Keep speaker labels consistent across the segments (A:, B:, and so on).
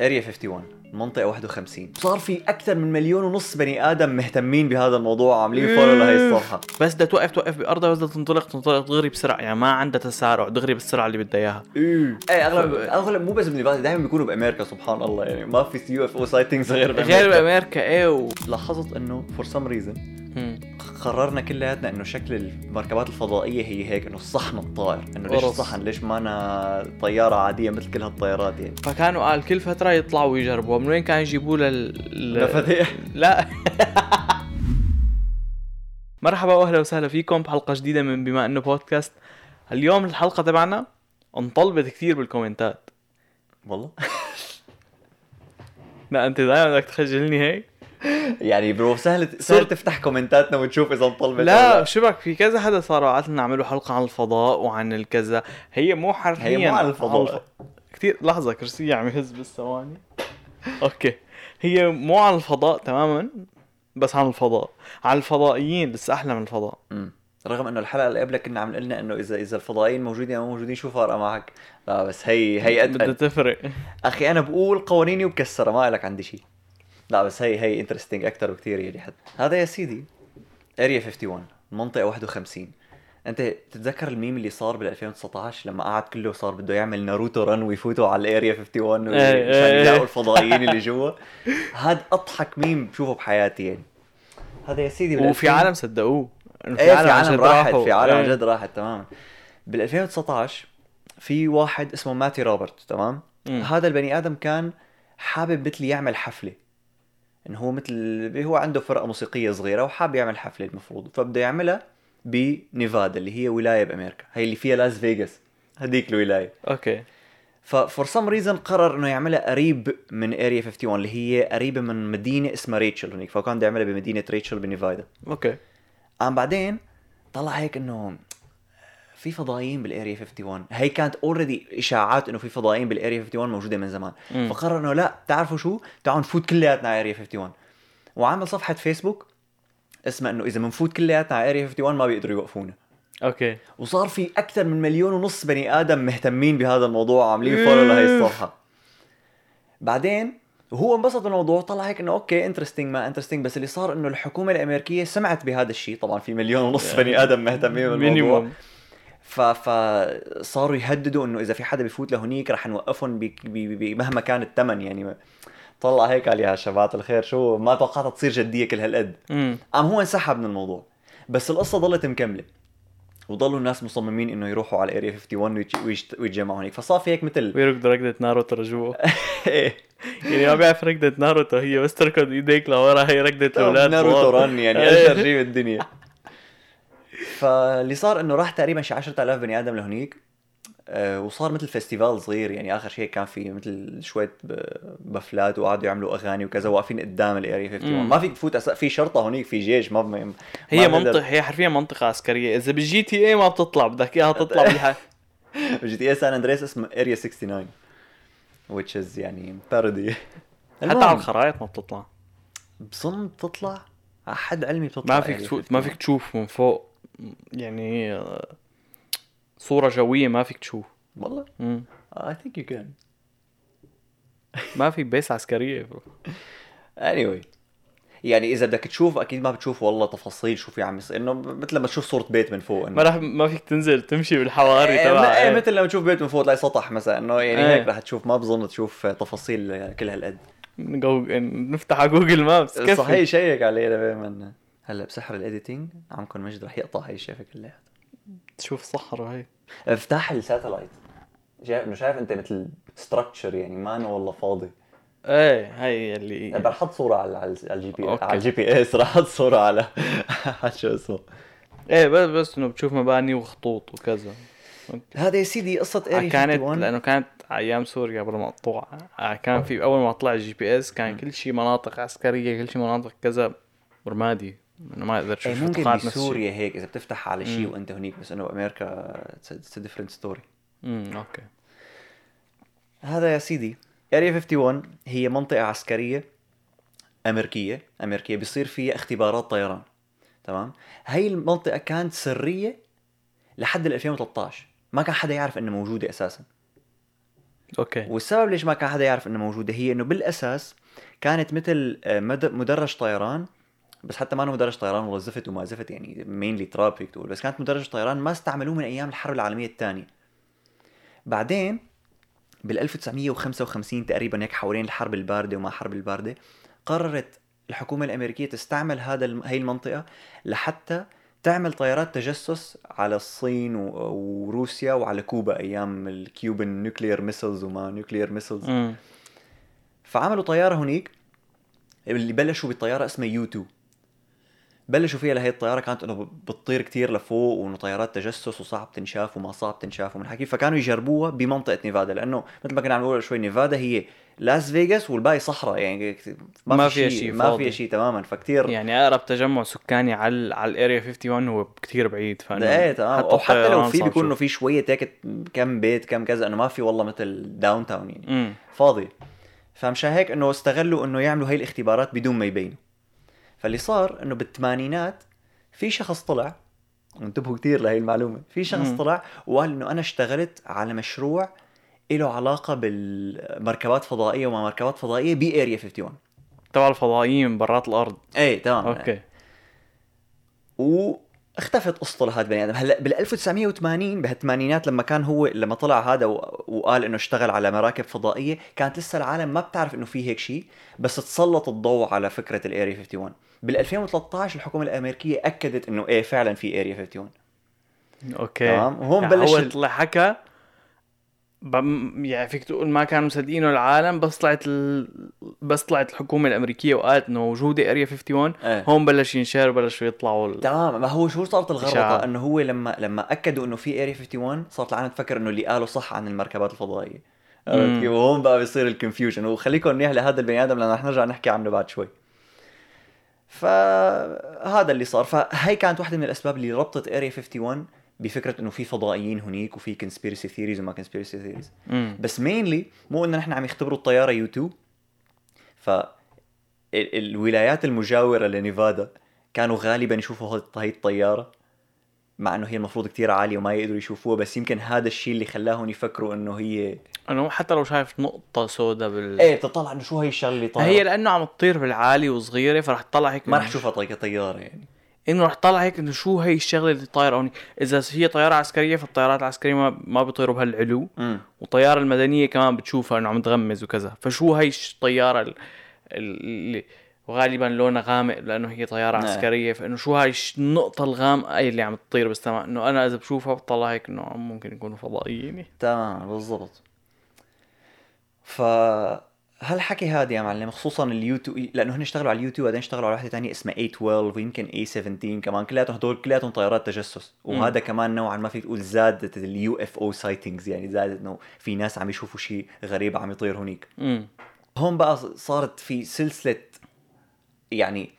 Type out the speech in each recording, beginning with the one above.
A: اريا 51 منطقه 51 صار في اكثر من مليون ونص بني ادم مهتمين بهذا الموضوع
B: إيه.
A: وعاملين فولو لهي الصفحه
B: بس بدها توقف توقف بارضها بس بدها تنطلق تنطلق دغري بسرعه يعني ما عندها تسارع دغري بالسرعه اللي بدها اياها
A: ايه اغلب اغلب مو بس بنيفادا دائما بيكونوا بامريكا سبحان الله يعني ما في يو اف او سايتنجز غير
B: غير بامريكا ايه و...
A: لاحظت انه فور سم ريزن قررنا كلياتنا انه شكل المركبات الفضائيه هي هيك انه الصحن الطائر انه ليش
B: قرص.
A: صحن ليش ما أنا طياره عاديه مثل كل هالطيارات يعني
B: فكانوا قال كل فتره يطلعوا ويجربوا من وين كان يجيبوا لل لل-
A: مفاتيح
B: لا مرحبا واهلا وسهلا فيكم بحلقه جديده من بما انه بودكاست اليوم الحلقه تبعنا انطلبت كثير بالكومنتات
A: والله
B: لا انت دائما بدك تخجلني هيك
A: يعني برو سهل سهل
B: صرت-
A: تفتح كومنتاتنا وتشوف اذا انطلبت أو
B: لا شبك في كذا حدا صار بعت لنا نعملوا حلقه عن الفضاء وعن الكذا هي مو حرفيا
A: هي مو عن الفضاء.
B: كثير لحظه كرسي عم يهز بالثواني اوكي هي مو عن الفضاء تماما بس عن الفضاء عن الفضائيين لسه احلى من الفضاء
A: مم. رغم انه الحلقه اللي قبلها كنا عم قلنا انه اذا اذا الفضائيين موجودين او مو موجودين شو فارقه معك لا بس هي هي
B: بدها
A: أتقل.
B: تفرق
A: اخي انا بقول قوانيني وكسرها ما لك عندي شيء لا بس هي هي انترستنج اكثر بكثير يعني حد هذا يا سيدي اريا 51 منطقه 51 انت بتتذكر الميم اللي صار بال 2019 لما قعد كله صار بده يعمل ناروتو رن ويفوتوا على الاريا 51
B: إيه،
A: مشان
B: إيه.
A: يلاقوا الفضائيين اللي جوا هذا اضحك ميم بشوفه بحياتي يعني هذا يا سيدي بال
B: وفي
A: 2000
B: عالم صدقوه إنه
A: ايه في
B: عن
A: عالم
B: جد
A: راحت
B: راحوا.
A: في عالم عن
B: إيه.
A: جد راحت تماما بال 2019 في واحد اسمه ماتي روبرت تمام
B: مم.
A: هذا البني ادم كان حابب مثل يعمل حفله انه هو مثل هو عنده فرقه موسيقيه صغيره وحاب يعمل حفله المفروض فبده يعملها بنيفادا اللي هي ولايه بامريكا هي اللي فيها لاس فيغاس هذيك الولايه
B: اوكي
A: ففور سم ريزن قرر انه يعملها قريب من اريا 51 اللي هي قريبه من مدينه اسمها ريتشل هنيك فكان بده يعملها بمدينه ريتشل بنيفادا
B: اوكي
A: قام بعدين طلع هيك انه في فضائيين بالاريا 51 هي كانت اوريدي اشاعات انه في فضائيين بالاريا 51 موجوده من زمان
B: مم.
A: فقرر انه لا بتعرفوا شو تعالوا نفوت كلياتنا على اريا 51 وعمل صفحه فيسبوك اسمها انه اذا بنفوت كلياتنا على اريا 51 ما بيقدروا يوقفونا
B: اوكي
A: وصار في اكثر من مليون ونص بني ادم مهتمين بهذا الموضوع وعاملين فولو لهي الصفحه بعدين هو انبسط بالموضوع طلع هيك انه اوكي انترستنج ما انترستنج بس اللي صار انه الحكومه الامريكيه سمعت بهذا الشيء طبعا في مليون ونص بني ادم مهتمين بالموضوع
B: مينيموم
A: ف فصاروا يهددوا انه اذا في حدا بيفوت لهنيك رح نوقفهم ب... ب... ب... مهما كان الثمن يعني طلع هيك قال يا شباب الخير شو ما توقعتها تصير جديه كل هالقد
B: امم
A: قام هو انسحب من الموضوع بس القصه ضلت مكمله وضلوا الناس مصممين انه يروحوا على اريا 51 ويتج- ويجت- ويتجمعوا هناك فصار في هيك مثل إيه،
B: ويركض ركضة ناروتو رجوع يعني ما بيعرف ركضة ناروتو هي بس تركض ايديك لورا هي ركضة اولاد
A: ناروتو
B: صغار.
A: رن يعني
B: إيه.
A: اشهر شيء بالدنيا فاللي صار انه راح تقريبا شي 10000 بني ادم لهنيك آه، وصار مثل فيستيفال صغير يعني اخر شيء كان في مثل شويه ب- بفلات وقعدوا يعملوا اغاني وكذا واقفين قدام الاريا 51
B: مم.
A: ما فيك تفوت أسا- في شرطه هنيك في جيش ما ما- ما
B: هي
A: بنقدر-
B: منطقة هي حرفيا منطقة عسكرية اذا بالجي تي اي ما بتطلع بدك اياها تطلع بالحق
A: جي تي اي سان اندريس اسمه اريا 69 which is يعني بارودي
B: حتى على الخرائط ما بتطلع
A: بظن بتطلع على حد علمي بتطلع يعني.
B: ما فيك
A: area
B: تفوت ما
A: 51.
B: فيك تشوف من فوق يعني آه، صورة جوية ما فيك تشوف
A: والله
B: مم.
A: I think you can
B: ما في بيس عسكرية
A: anyway يعني اذا بدك تشوف اكيد ما بتشوف والله تفاصيل شو في عم يصير انه مثل لما تشوف صوره بيت من فوق
B: ما
A: انه
B: راح ما فيك تنزل تمشي بالحواري
A: إيه،
B: تبعها
A: ما- إيه،
B: إيه.
A: مثل لما تشوف بيت من فوق تلاقي سطح مثلا انه يعني
B: إيه.
A: هيك رح تشوف ما بظن تشوف تفاصيل كل هالقد
B: نجو- إيه، نفتح على جوجل مابس كفي.
A: صحيح شيك عليه دائما هلا بسحر الايديتنج عمكم مجد رح يقطع هي الشيفه كلها
B: تشوف صحراء هي
A: افتح الساتلايت شايف انه شايف انت مثل ستراكشر يعني ما انا والله فاضي
B: ايه هي اللي
A: رح احط صوره على على على الجي بي
B: أوكي.
A: على الجي بي اس رح احط صوره على على شو اسمه
B: ايه بس بس انه بتشوف مباني وخطوط وكذا آه،
A: هذا يا سيدي قصه اري
B: كانت
A: 51
B: لانه كانت ايام سوريا قبل ما تطوع آه، كان في اول ما طلع الجي بي اس كان كل شيء مناطق عسكريه كل شيء مناطق كذا رمادي انه ما يقدر
A: إيه،
B: يشوف
A: ممكن
B: قطاعات نفس الشيء.
A: بسوريا هيك اذا بتفتح على شيء
B: مم.
A: وانت هنيك بس انه بامريكا اتس ديفرنت ستوري
B: امم اوكي
A: هذا يا سيدي اريا 51 هي منطقه عسكريه امريكيه امريكيه بيصير فيها اختبارات طيران تمام هي المنطقه كانت سريه لحد ال 2013 ما كان حدا يعرف انها موجوده اساسا
B: اوكي
A: والسبب ليش ما كان حدا يعرف انها موجوده هي انه بالاساس كانت مثل آه، مد- مدرج طيران بس حتى ما انه مدرج طيران والله زفت وما زفت يعني مينلي تراب فيك تقول بس كانت مدرج طيران ما استعملوه من ايام الحرب العالميه الثانيه بعدين بال 1955 تقريبا هيك حوالين الحرب البارده وما حرب البارده قررت الحكومه الامريكيه تستعمل هذا الم- هي المنطقه لحتى تعمل طيارات تجسس على الصين و- وروسيا وعلى كوبا ايام الكيوبن نيوكليير ميسلز وما نيوكليير ميسلز
B: امم
A: فعملوا طياره هنيك اللي بلشوا بطياره اسمها يو 2 بلشوا فيها لهي الطياره كانت انه بتطير كتير لفوق وانه طيارات تجسس وصعب تنشاف وما صعب تنشاف ومن حكي فكانوا يجربوها بمنطقه نيفادا لانه مثل ما كنا عم نقول قبل شوي نيفادا هي لاس فيغاس والباقي صحراء يعني
B: ما فيها شي
A: ما
B: فاضي.
A: فيها شيء تماما فكتير
B: يعني اقرب تجمع سكاني على على الاريا 51 هو كثير بعيد فانه
A: ايه تمام او حتى لو
B: الطيران
A: في
B: صعب
A: بيكون انه
B: شوي.
A: في شويه هيك كم بيت كم كذا انه ما في والله مثل داون تاون يعني
B: امم
A: فاضي فمشان هيك انه استغلوا انه يعملوا هاي الاختبارات بدون ما يبينوا فاللي صار انه بالثمانينات في شخص طلع وانتبهوا كثير لهي المعلومه في شخص
B: مم.
A: طلع وقال انه انا اشتغلت على مشروع له علاقه بالمركبات فضائيه وما مركبات فضائيه باريا 51
B: تبع الفضائيين برات الارض
A: ايه تمام
B: اوكي
A: واختفت قصته لهذا البني ادم هلا بال 1980 بهالثمانينات لما كان هو لما طلع هذا و- وقال انه اشتغل على مراكب فضائيه كانت لسه العالم ما بتعرف انه في هيك شيء بس تسلط الضوء على فكره الاريا 51 بال 2013 الحكومه الامريكيه اكدت انه ايه فعلا في اريا 51
B: اوكي
A: تمام وهون
B: يعني
A: بلش
B: هو
A: ال-
B: طلع حكى بم- يعني فيك تقول ما كانوا مصدقينه العالم بس طلعت ال... بس طلعت الحكومه الامريكيه وقالت انه موجوده اريا 51
A: إيه.
B: هون بلش ينشهر بلشوا يطلعوا ال...
A: تمام ما هو شو صارت
B: إشاعات.
A: الغرضه انه هو لما لما اكدوا انه في اريا 51 صارت العالم تفكر انه اللي قاله صح عن المركبات الفضائيه
B: مم.
A: عرفت كيف؟ وهون بقى بيصير الكونفيوجن وخليكم منيح لهذا البني ادم لانه رح نرجع نحكي عنه بعد شوي فهذا اللي صار فهي كانت واحدة من الاسباب اللي ربطت اريا 51 بفكره انه في فضائيين هنيك وفي كونسبيرسي ثيريز وما كونسبيرسي ثيريز
B: مم.
A: بس مينلي مو انه نحن عم يختبروا الطياره يو 2 ف ال- الولايات المجاوره لنيفادا كانوا غالبا يشوفوا هاد- هاي الطياره مع انه هي المفروض كتير عاليه وما يقدروا يشوفوها بس يمكن هذا الشيء اللي خلاهم يفكروا انه هي
B: انه حتى لو شايف نقطه سوداء بال
A: ايه بتطلع انه شو هي الشغله اللي طايره
B: إيه. هي لانه عم تطير بالعالي وصغيره فرح تطلع هيك
A: ما رح تشوفها طي- طياره يعني
B: انه رح تطلع هيك انه شو هي الشغله اللي طايره هون اذا هي طياره عسكريه فالطيارات العسكريه ما, ما بيطيروا بهالعلو
A: امم
B: والطياره المدنيه كمان بتشوفها انه عم تغمز وكذا فشو هي الش- الطياره ال- اللي وغالبا لونها غامق لانه هي طياره
A: نعم.
B: عسكريه فانه شو هاي الش- النقطه الغامقه اللي عم تطير بالسماء انه انا اذا بشوفها بطلع هيك انه ممكن يكونوا فضائيين
A: تمام بالضبط فهالحكي هذا يا معلم خصوصا اليو 2 لانه هن اشتغلوا على اليو 2 بعدين اشتغلوا على وحده ثانيه اسمها A12 ويمكن A17 كمان كلياتهم هدول كلياتهم طيارات تجسس وهذا كمان نوعا ما فيك تقول زادت اليو اف او سايتنجز يعني زادت انه في ناس عم يشوفوا شيء غريب عم يطير هنيك
B: امم
A: هون بقى صارت في سلسله يعني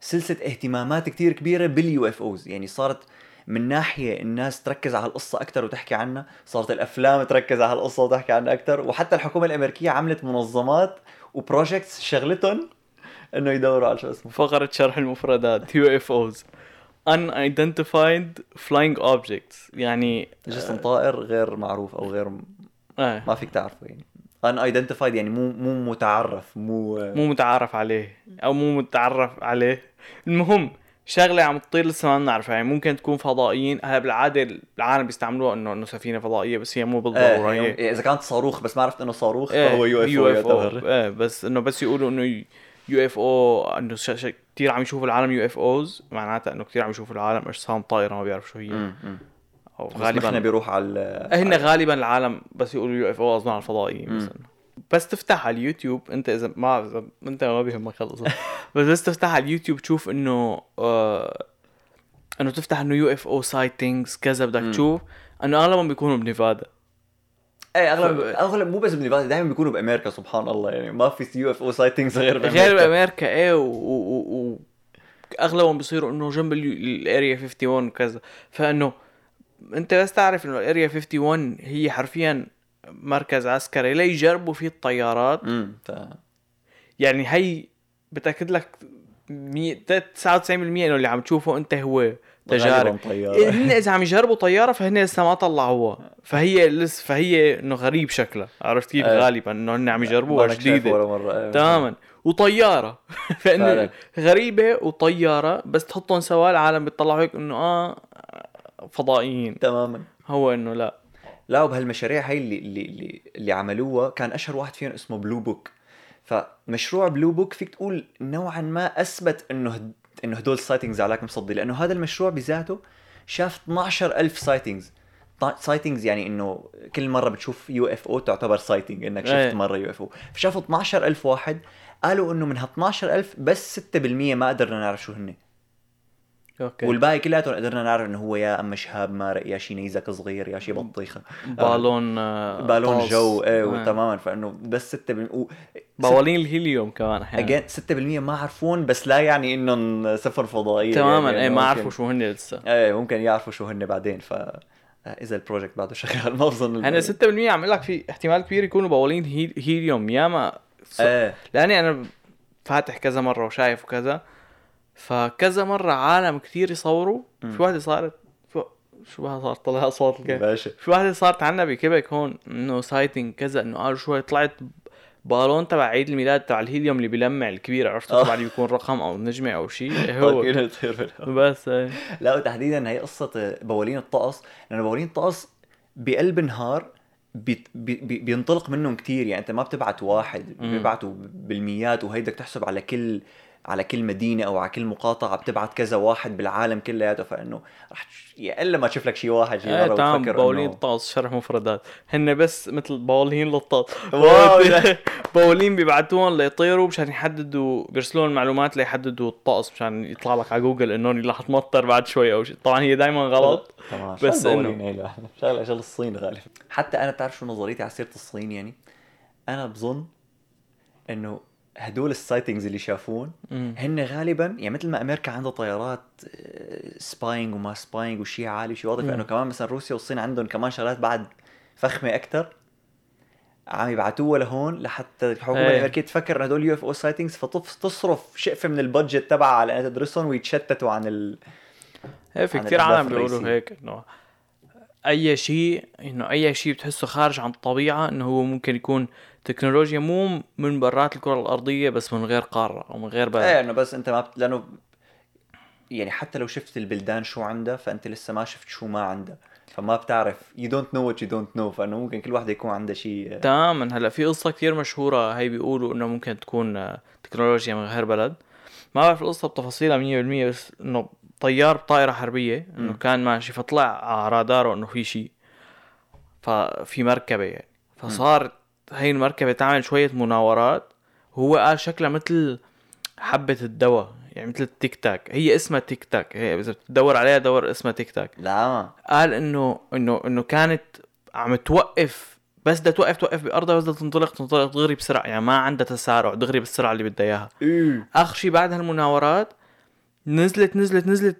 A: سلسله اهتمامات كتير كبيره باليو اف اوز يعني صارت من ناحيه الناس تركز على القصه اكثر وتحكي عنها صارت الافلام تركز على القصه وتحكي عنها اكثر وحتى الحكومه الامريكيه عملت منظمات وبروجكتس شغلتهم انه يدوروا على شو اسمه
B: فقره شرح المفردات يو اف اوز unidentified flying objects يعني
A: جسم طائر غير معروف او غير م-
B: آه.
A: ما فيك تعرفه يعني ان identified يعني مو مو متعرف مو
B: مو متعارف عليه او مو متعرف عليه المهم شغله عم تطير لسه ما بنعرفها يعني ممكن تكون فضائيين هلا بالعاده العالم بيستعملوها انه انه سفينه فضائيه بس هي مو بالضروره
A: آه
B: هي
A: يعني اذا كانت صاروخ بس ما عرفت انه صاروخ
B: إيه،
A: فهو يو اف او يعتبر
B: ايه بس انه بس يقولوا انه يو اف او انه ش- ش- كثير عم يشوفوا العالم يو اف اوز معناتها انه كثير عم يشوفوا العالم اجسام طائره ما بيعرف شو هي
A: مم.
B: او
A: غالبا
B: غالبا
A: نحن بيروح على
B: هن غالبا العالم بس يقولوا يو اف او اظن على الفضائيين
A: مم.
B: مثلا بس تفتح على اليوتيوب انت اذا ما إذا انت ما بيهمك خلص بس بس تفتح على اليوتيوب تشوف انه آه انه تفتح انه يو اف او سايتنجز كذا بدك تشوف انه اغلبهم بيكونوا بنيفادا
A: ايه اغلب اغلب مو بس بنيفادا دائما بيكونوا بامريكا سبحان الله يعني ما في يو اف او سايتنجز غير بامريكا
B: غير بامريكا ايه و, و, و, و اغلبهم بيصيروا انه جنب ال- الاريا 51 وكذا فانه انت بس تعرف انه الاريا 51 هي حرفيا مركز عسكري ليجربوا فيه الطيارات
A: امم ف...
B: يعني هي بتاكد لك مية- تلات- 99% انه اللي عم تشوفه انت هو تجارب
A: غالباً طيارة.
B: هن اذا عم يجربوا طياره فهن لسه ما طلعوها فهي لسه فهي انه غريب شكلها عرفت كيف
A: آه.
B: غالبا انه هن عم
A: ما
B: يجربوها
A: أنا شايفه
B: جديده
A: ولا مرة إيه.
B: تماما وطياره فانه
A: فعلاً.
B: غريبه وطياره بس تحطهم سوا العالم بتطلعوا هيك انه اه فضائيين
A: تماما
B: هو انه لا
A: لا وبهالمشاريع هاي اللي اللي اللي, اللي عملوها كان اشهر واحد فيهم اسمه بلو بوك فمشروع بلو بوك فيك تقول نوعا ما اثبت انه هد- انه هدول السايتنجز عليك مصدي لانه هذا المشروع بذاته شاف 12000 سايتنجز سايتنجز يعني انه كل مره بتشوف يو اف او تعتبر سايتنج انك
B: إيه.
A: شفت مره يو اف او فشافوا 12000 واحد قالوا انه من هال 12000 بس 6% ما قدرنا نعرف شو هن
B: اوكي
A: والباقي كلياتهم قدرنا نعرف انه هو يا اما شهاب مارق يا شي نيزك صغير يا شي بطيخه
B: بالون آه،
A: بالون
B: طاس.
A: جو ايه
B: آه.
A: وتماما فانه بس 6 بال... و...
B: بوالين الهيليوم كمان احيانا
A: again 6% ما عرفون بس لا يعني انهم سفر فضائيه
B: تماما
A: يعني
B: ايه ما
A: ممكن-
B: عرفوا شو هن لسه
A: ايه ممكن يعرفوا شو هن بعدين ف اذا البروجكت بعده شغال ما بظن
B: هلا 6% عم اقول لك في احتمال كبير يكونوا بوالين هيل- هيليوم ياما ص-
A: ايه
B: لاني انا فاتح كذا مره وشايف وكذا فكذا مره عالم كثير يصوروا
A: مم.
B: في وحده صارت في- شو بها صار طلع صوت الكهف
A: باشا
B: في وحده صارت عنا بكيبك هون انه سايتنج كذا انه قالوا شوي طلعت بالون تبع عيد الميلاد تبع الهيليوم اللي بيلمع الكبير عرفته
A: آه.
B: تبع اللي بيكون رقم او نجمه او شيء
A: طيب،
B: هو
A: فينا نطير بالهواء.
B: بس إيه.
A: لا وتحديدا هي قصه بوالين الطقس لانه بوالين الطقس بقلب نهار بي بي بي- بينطلق منهم كتير يعني انت ما بتبعت واحد
B: مم.
A: بيبعتوا بالميات وهيدك تحسب على كل على كل مدينه او على كل مقاطعه بتبعت كذا واحد بالعالم كلياته فانه رح تش- يا الا ما تشوف لك شيء واحد شيء
B: ايه
A: مره
B: تمام
A: وتفكر
B: باولين
A: إنه-
B: طاس شرح مفردات هن بس مثل باولين للطاس
A: واو، لا.
B: باولين بيبعتوهم ليطيروا مشان يحددوا بيرسلون معلومات ليحددوا الطقس مشان يطلع لك على جوجل انه رح تمطر بعد شوي او شيء طبعا هي دائما غلط
A: تمام شغل
B: بس إنه-
A: باولين هي لحالها. شغله شغل الصين غالبا حتى انا بتعرف شو نظريتي على سيره الصين يعني انا بظن انه هدول السايتنجز اللي شافون
B: مم.
A: هن غالبا يعني مثل ما امريكا عندها طيارات سباينج وما سباينج وشي عالي وشي واطي فانه كمان مثلا روسيا والصين عندهم كمان شغلات بعد فخمه اكثر عم يبعتوها لهون لحتى الحكومه
B: إيه.
A: الامريكيه تفكر ان هدول يو اف او سايتنجز فتصرف شقفه من البادجت تبعها على انها تدرسهم ويتشتتوا عن ال...
B: ايه في
A: عن
B: كثير
A: الأهداف
B: عالم بيقولوا
A: الرئيسية.
B: هيك انه اي شيء انه اي شيء بتحسه خارج عن الطبيعه انه هو ممكن يكون تكنولوجيا مو من برات الكره الارضيه بس من غير قاره او من غير بلد
A: ايه انه بس انت ما بت... لانه يعني حتى لو شفت البلدان شو عندها فانت لسه ما شفت شو ما عندها فما بتعرف يو دونت نو وات يو دونت نو فانه ممكن كل واحدة يكون آه. عندها شيء
B: تماما هلا في قصه كثير مشهوره هي بيقولوا انه ممكن تكون آه، تكنولوجيا من غير بلد ما بعرف القصه بتفاصيلها 100% بس انه طيار بطائره حربيه انه
A: مم.
B: كان ماشي فطلع على راداره انه في شيء ففي مركبه يعني فصار هي المركبه تعمل شويه مناورات هو قال شكلها مثل حبه الدواء يعني مثل التيك تاك هي اسمها تيك تاك هي اذا بتدور عليها دور اسمها تيك تاك
A: لا ما
B: قال انه انه انه كانت عم توقف بس بدها توقف توقف بارضها بس بدها تنطلق تنطلق دغري بسرعه يعني ما عندها تسارع دغري بالسرعه اللي بدها اياها
A: ايه
B: اخر شيء بعد هالمناورات نزلت نزلت نزلت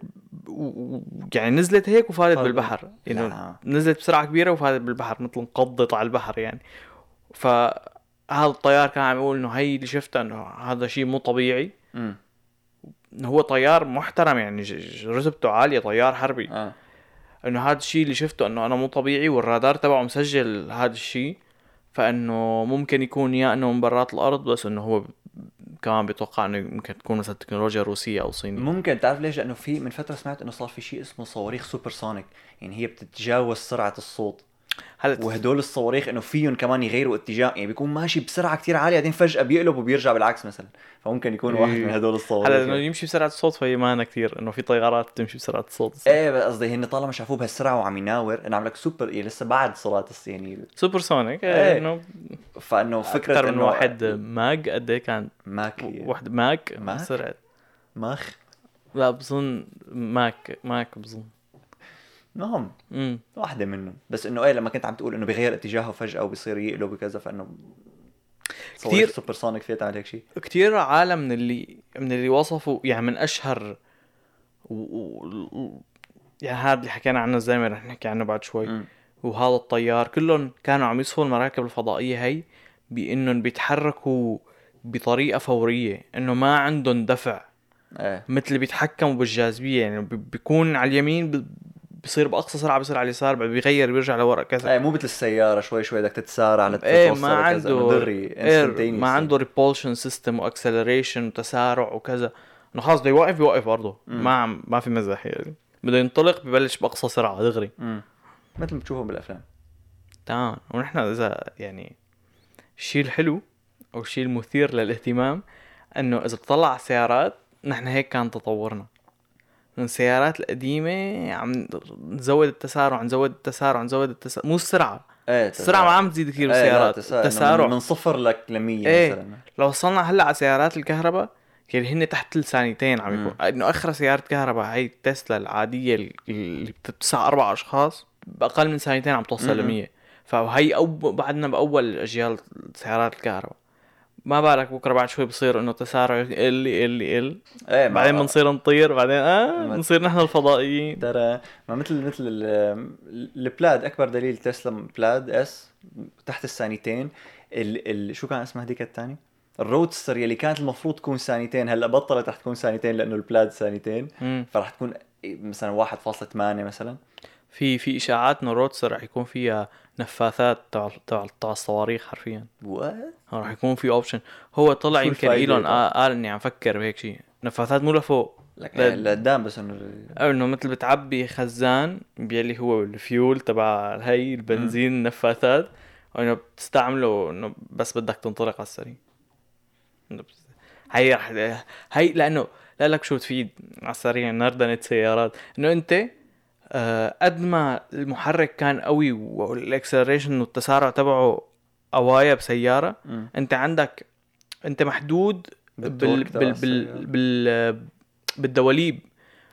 B: و- و- يعني نزلت هيك وفادت
A: فادت.
B: بالبحر يعني
A: لا.
B: نزلت بسرعه كبيره وفادت بالبحر مثل انقضت على البحر يعني فهذا الطيار كان عم يقول انه هي اللي شفتها انه هذا شيء مو طبيعي
A: امم
B: إنه هو طيار محترم يعني ج- ج- رتبته عاليه طيار حربي
A: اه
B: انه هذا الشيء اللي شفته انه انا مو طبيعي والرادار تبعه مسجل هذا الشيء فانه ممكن يكون يا انه من برات الارض بس انه هو ب- كمان بيتوقع انه ممكن تكون مثلا تكنولوجيا روسيه او صينيه
A: ممكن تعرف ليش لانه في من فتره سمعت انه صار في شيء اسمه صواريخ سوبر سونيك يعني هي بتتجاوز سرعه الصوت
B: هلا
A: وهدول الصواريخ انه فيهم كمان يغيروا اتجاه يعني بيكون ماشي بسرعه كتير عاليه بعدين فجاه بيقلب وبيرجع بالعكس مثلا فممكن يكون
B: إيه.
A: واحد من هدول
B: هلا انه
A: الصواريخ
B: يمشي بسرعه الصوت فهي ما أنا كثير انه في طيارات بتمشي بسرعه الصوت
A: ايه بس قصدي هن طالما شافوه بهالسرعه وعم يناور انا عم لك سوبر يعني لسه بعد صلاه الص- يعني
B: سوبر سونيك
A: إيه.
B: انه
A: فانه فكره
B: اكثر من
A: إنه
B: واحد ماج قد ايه كان
A: ماك
B: واحد ماك
A: ماك؟
B: سرعه
A: ماخ
B: لا بظن ماك ماك بظن
A: المهم
B: امم
A: واحدة منهم بس انه ايه لما كنت عم تقول انه بغير اتجاهه فجأة وبصير يقلب وكذا فانه
B: كتير-
A: كثير سوبر سونيك فيها تعمل هيك شيء
B: كتير عالم من اللي من اللي وصفوا يعني من اشهر و... و... و- يعني هذا اللي حكينا عنه زي ما رح نحكي عنه بعد شوي
A: مم.
B: وهذا الطيار كلهم كانوا عم يصفوا المراكب الفضائية هي بانهم بيتحركوا بطريقة فورية انه ما عندهم دفع
A: ايه
B: مثل اللي بيتحكموا بالجاذبيه يعني بي- بيكون على اليمين بي- بيصير باقصى سرعه بيصير على اليسار بعد بيغير بيرجع لورا كذا
A: ايه مو مثل السياره شوي شوي بدك تتسارع
B: ايه
A: لتتوصل
B: ما عنده
A: مدري
B: ايه ما عنده ريبولشن سيستم واكسلريشن وتسارع وكذا انه خلص بده يوقف يوقف برضه
A: مم.
B: ما عم- ما في مزح يعني بده ينطلق ببلش باقصى سرعه دغري
A: إيه. مثل ما بتشوفهم بالافلام
B: تمام ونحن اذا يعني الشيء الحلو او الشيء المثير للاهتمام انه اذا بتطلع على السيارات نحن هيك كان تطورنا من السيارات القديمة عم نزود التسارع نزود التسارع نزود التسارع مو السرعة
A: ايه
B: السرعة ما عم تزيد
A: إيه،
B: كثير بالسيارات
A: التسارع
B: التسارع
A: من صفر لك ل 100
B: إيه.
A: مثلا
B: لو وصلنا هلا على سيارات الكهرباء يعني هن تحت الثانيتين عم يكون انه اخر سيارة كهرباء هي التسلا العادية اللي بتسع اربع اشخاص باقل من ثانيتين عم توصل
A: مم.
B: ل 100 فهي أو بعدنا باول اجيال سيارات الكهرباء ما بالك بكره بعد شوي بصير انه تسارع يقل يقل يقل
A: ايه ما-
B: بعدين بنصير نطير بعدين اه
A: ما-
B: بنصير نحن الفضائيين
A: ترى ما مثل مثل ال- البلاد اكبر دليل تسلا بلاد اس تحت الثانيتين ال ال شو كان اسمها هذيك الثانيه؟ الرودستر يلي كانت المفروض تكون ثانيتين هلا بطلت رح تكون ثانيتين لانه البلاد ثانيتين
B: مم.
A: فرح تكون مثلا 1.8 مثلا
B: في في اشاعات انه الروتسر رح يكون فيها نفاثات تبع تبع تبع الصواريخ حرفيا
A: وات
B: آه، راح يكون في اوبشن هو طلع
A: شو
B: يمكن
A: الفايدة
B: ايلون
A: طيب؟
B: قال, قال اني عم فكر بهيك شيء نفاثات مو لفوق
A: لك
B: لا-
A: يعني لقدام بس انه
B: أو انه مثل بتعبي خزان يلي هو الفيول تبع هي البنزين النفاثات وانه بتستعمله انه بس بدك تنطلق على السريع إنه بس- هي رح هي لانه لا لك شو تفيد على السريع نردنة سيارات انه انت آه، قد ما المحرك كان قوي والاكسلريشن والتسارع تبعه قوايا بسياره
A: مم.
B: انت عندك انت محدود بال
A: بالتورك تبع
B: بال
A: السيارة.
B: بال, بال بالدواليب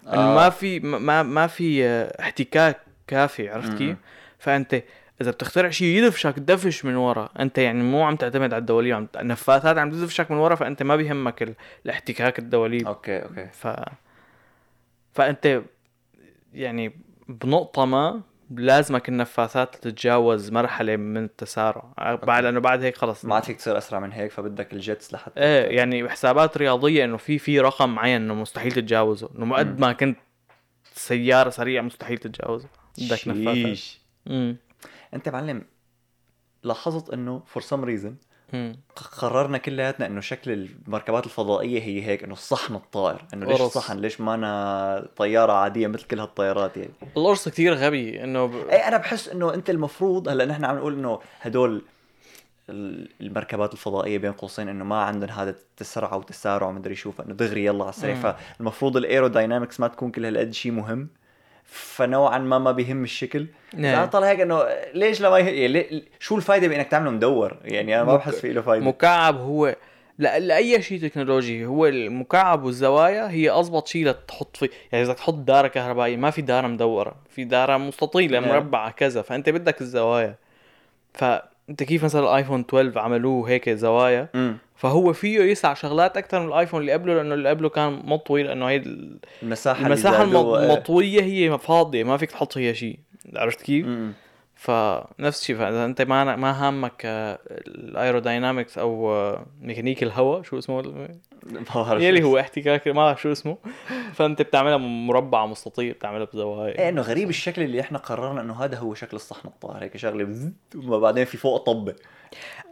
B: آه. انه
A: آه.
B: ما في ما- ما ما في اه، احتكاك كافي عرفت
A: مم.
B: كيف؟ فانت اذا بتخترع شيء يدفشك دفش من ورا انت يعني مو عم تعتمد على الدواليب عم النفاثات عم تدفشك من ورا فانت ما بيهمك ال... الاحتكاك الدواليب
A: اوكي اوكي
B: ف فانت يعني بنقطة ما لازمك النفاثات تتجاوز مرحلة من التسارع بعد لانه بعد هيك خلص
A: ما عاد فيك تصير اسرع من هيك فبدك الجيتس لحتى
B: ايه يعني حسابات رياضيه انه في في رقم معين انه مستحيل تتجاوزه انه قد ما كنت سياره سريعه مستحيل تتجاوزه بدك نفاثات
A: شيش.
B: مم.
A: انت معلم لاحظت انه فور سم ريزن
B: مم.
A: قررنا كلياتنا انه شكل المركبات الفضائيه هي هيك انه الصحن الطائر انه ليش
B: قرص.
A: صحن ليش ما انا طياره عاديه مثل كل هالطيارات يعني
B: القرص كثير غبي انه ب...
A: اي انا إيه، بحس انه انت المفروض هلا نحن عم نقول انه هدول ال- المركبات الفضائيه بين قوسين انه ما عندهم هذا التسرع والتسارع ومدري شو فانه دغري يلا على السريع
B: مم.
A: فالمفروض الايروداينامكس ما تكون كل هالقد شيء مهم فنوعا ما ما بيهم الشكل
B: نعم.
A: نعم. انا طالع هيك انه ليش لما يه... يعني ليه... شو الفائده بانك تعمله مدور يعني انا ما
B: مك-
A: بحس في له فائده
B: مكعب هو لا لاي شيء تكنولوجي هو المكعب والزوايا هي اضبط شيء لتحط فيه يعني اذا بدك تحط داره كهربائيه ما في داره مدوره في داره مستطيله
A: نعم.
B: مربعه كذا فانت بدك الزوايا فانت كيف مثلا الايفون 12 عملوه هيك زوايا
A: مم.
B: فهو فيه يسع شغلات اكثر من الايفون اللي قبله لانه اللي قبله كان مطوي لانه هي ال-
A: المساحه اللي
B: المساحه
A: زادوها،
B: الم-
A: إيه.
B: المطويه هي فاضيه ما فيك تحط فيها شيء عرفت كيف؟
A: إيه. مم.
B: فنفس الشيء فاذا انت ما ما هامك آه، الايروداينامكس او آه، ميكانيك الهواء شو اسمه
A: ما بعرف
B: يلي هو احتكاك ما بعرف شو اسمه فانت بتعملها مربعه مستطيل بتعملها
A: ايه
B: بزوايا
A: انه غريب الشكل اللي احنا قررنا انه هذا هو شكل الصحن الطاهر هيك شغله بزت وما بعدين في فوق طبه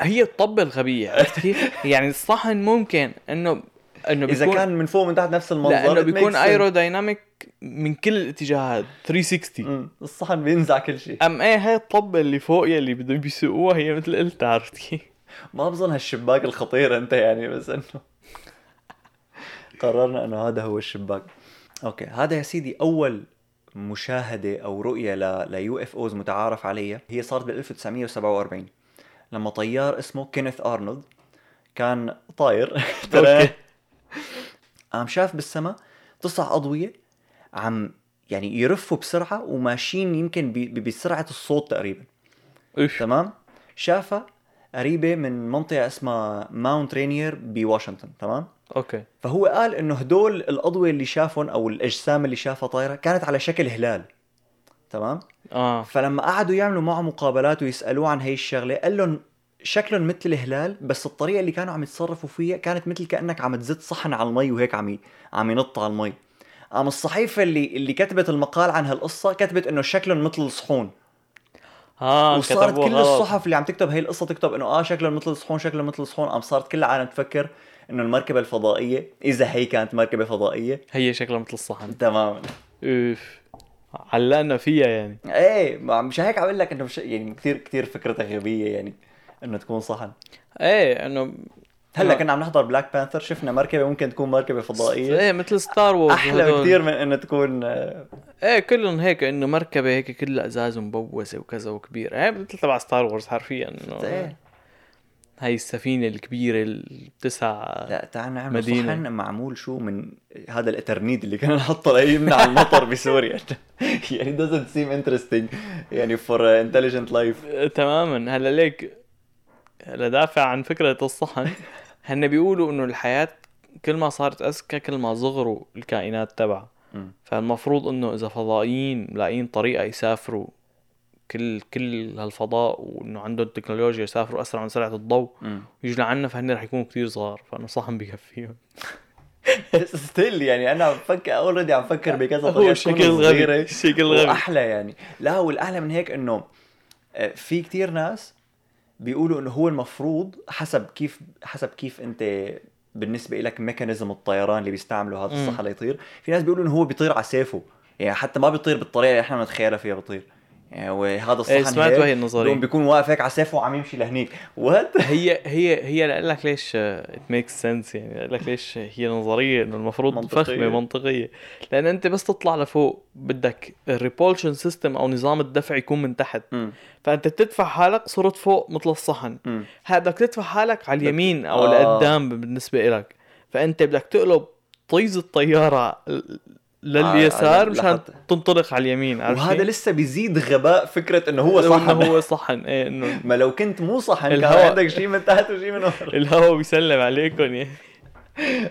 B: هي الطبه الغبيه عرفت كيف؟ يعني الصحن ممكن انه انه
A: اذا
B: بيكون-
A: كان من فوق من تحت نفس المنظر
B: لانه
A: it
B: بيكون
A: makes sense.
B: ايرودايناميك من كل الاتجاهات 360
A: مم. الصحن بينزع كل شيء
B: ام ايه هاي الطبه اللي فوق يلي بدهم بيسوقوها هي مثل قلت عرفت كيف؟
A: ما بظن هالشباك الخطير انت يعني بس انه قررنا انه هذا هو الشباك اوكي هذا يا سيدي اول مشاهده او رؤيه ل ليو اف اوز متعارف عليها هي صارت بال 1947 لما طيار اسمه كينيث ارنولد كان طاير ترى
B: أوكي.
A: قام شاف بالسماء تسع اضويه عم يعني يرفوا بسرعه وماشيين يمكن ب- ب- بسرعه الصوت تقريبا
B: اوف
A: تمام شافها قريبه من منطقه اسمها ماونت رينير بواشنطن تمام
B: اوكي
A: فهو قال انه هدول الاضويه اللي شافهم او الاجسام اللي شافها طايره كانت على شكل هلال تمام
B: اه آه.
A: فلما قعدوا يعملوا معه مقابلات ويسالوه عن هي الشغله قال لهم شكلهم مثل الهلال بس الطريقه اللي كانوا عم يتصرفوا فيها كانت مثل كانك عم تزت صحن على المي وهيك عم ي- عم ينط على المي قام الصحيفه اللي اللي كتبت المقال عن هالقصه كتبت انه شكلهم مثل الصحون
B: اه
A: وصارت
B: كتبوها
A: كل
B: غلط.
A: الصحف اللي عم تكتب هي القصه تكتب انه اه شكلهم مثل الصحون شكلهم مثل الصحون قام صارت كل العالم تفكر انه المركبه الفضائيه اذا هي كانت مركبه فضائيه
B: هي شكلها مثل الصحن
A: تماما
B: اوف علقنا فيها يعني
A: ايه ما- مش هيك عم اقول لك انه مش يعني كثير كثير فكرتها غبيه يعني انه تكون صحن
B: ايه انه
A: هلا كنا عم نحضر بلاك بانثر شفنا مركبه ممكن تكون مركبه فضائيه
B: ايه مثل ستار وورز
A: احلى
B: وهدول.
A: بكثير من انه تكون آه،
B: ايه كلهم هيك انه مركبه هيك كلها ازاز ومبوسه وكذا وكبيره ايه مثل تبع ستار وورز حرفيا انه
A: إيه.
B: هاي السفينه الكبيره اللي بتسع
A: لا تعال نعمل
B: مدينة.
A: صحن معمول شو من هذا الاترنيد اللي كان نحطه ليمنع المطر بسوريا يعني doesn't seem interesting يعني for uh, intelligent life
B: تماما هلا ليك هلا دافع عن فكرة الصحن هن بيقولوا انه الحياة كل ما صارت اذكى كل ما صغروا الكائنات تبعها
A: مم.
B: فالمفروض انه اذا فضائيين لاقيين طريقة يسافروا كل كل هالفضاء وانه عندهم تكنولوجيا يسافروا اسرع من سرعة الضوء ويجوا لعنا فهن رح يكونوا كتير صغار فانه صحن بيكفيهم
A: ستيل يعني انا عم فكر اوريدي عم فكر بكذا
B: هو
A: طريقه
B: شكل
A: تكون صغيرة
B: غبي شكل غبي
A: واحلى يعني لا والاحلى من هيك انه آه، في كتير ناس بيقولوا انه هو المفروض حسب كيف حسب كيف انت بالنسبه لك ميكانيزم الطيران اللي بيستعمله هذا
B: مم.
A: الصحة ليطير في ناس بيقولوا انه هو بيطير على سيفه يعني حتى ما بيطير بالطريقه اللي احنا بنتخيلها فيها بيطير يعني هو هذا
B: ايه
A: الصحن هيك،
B: سمعت وهي
A: بيقوم
B: النظرية
A: بيكون واقف هيك على سيفه وعم يمشي لهنيك وات
B: هي هي هي لأقول لك ليش آه، ات ميك سنس يعني لأقول لك ليش هي نظريه انه المفروض
A: منطقية.
B: فخمه منطقيه لان انت بس تطلع لفوق بدك الريبولشن سيستم او نظام الدفع يكون من تحت فانت بتدفع حالك صرت فوق مثل الصحن هاد بدك تدفع حالك على اليمين او
A: آه.
B: لقدام بالنسبه لك فانت بدك تقلب طيز الطياره ل-
A: على-
B: لليسار
A: على-
B: مشان
A: لحتى.
B: تنطلق على اليمين عرفت
A: آه، وهذا
B: كيف؟
A: لسه بيزيد غباء فكره انه هو
B: لو
A: صحن
B: إنه هو صحن ايه انه
A: ما لو كنت مو صحن كان
B: الهواء.
A: عندك شيء من تحت وشيء من ورا
B: الهوا بيسلم عليكم يعني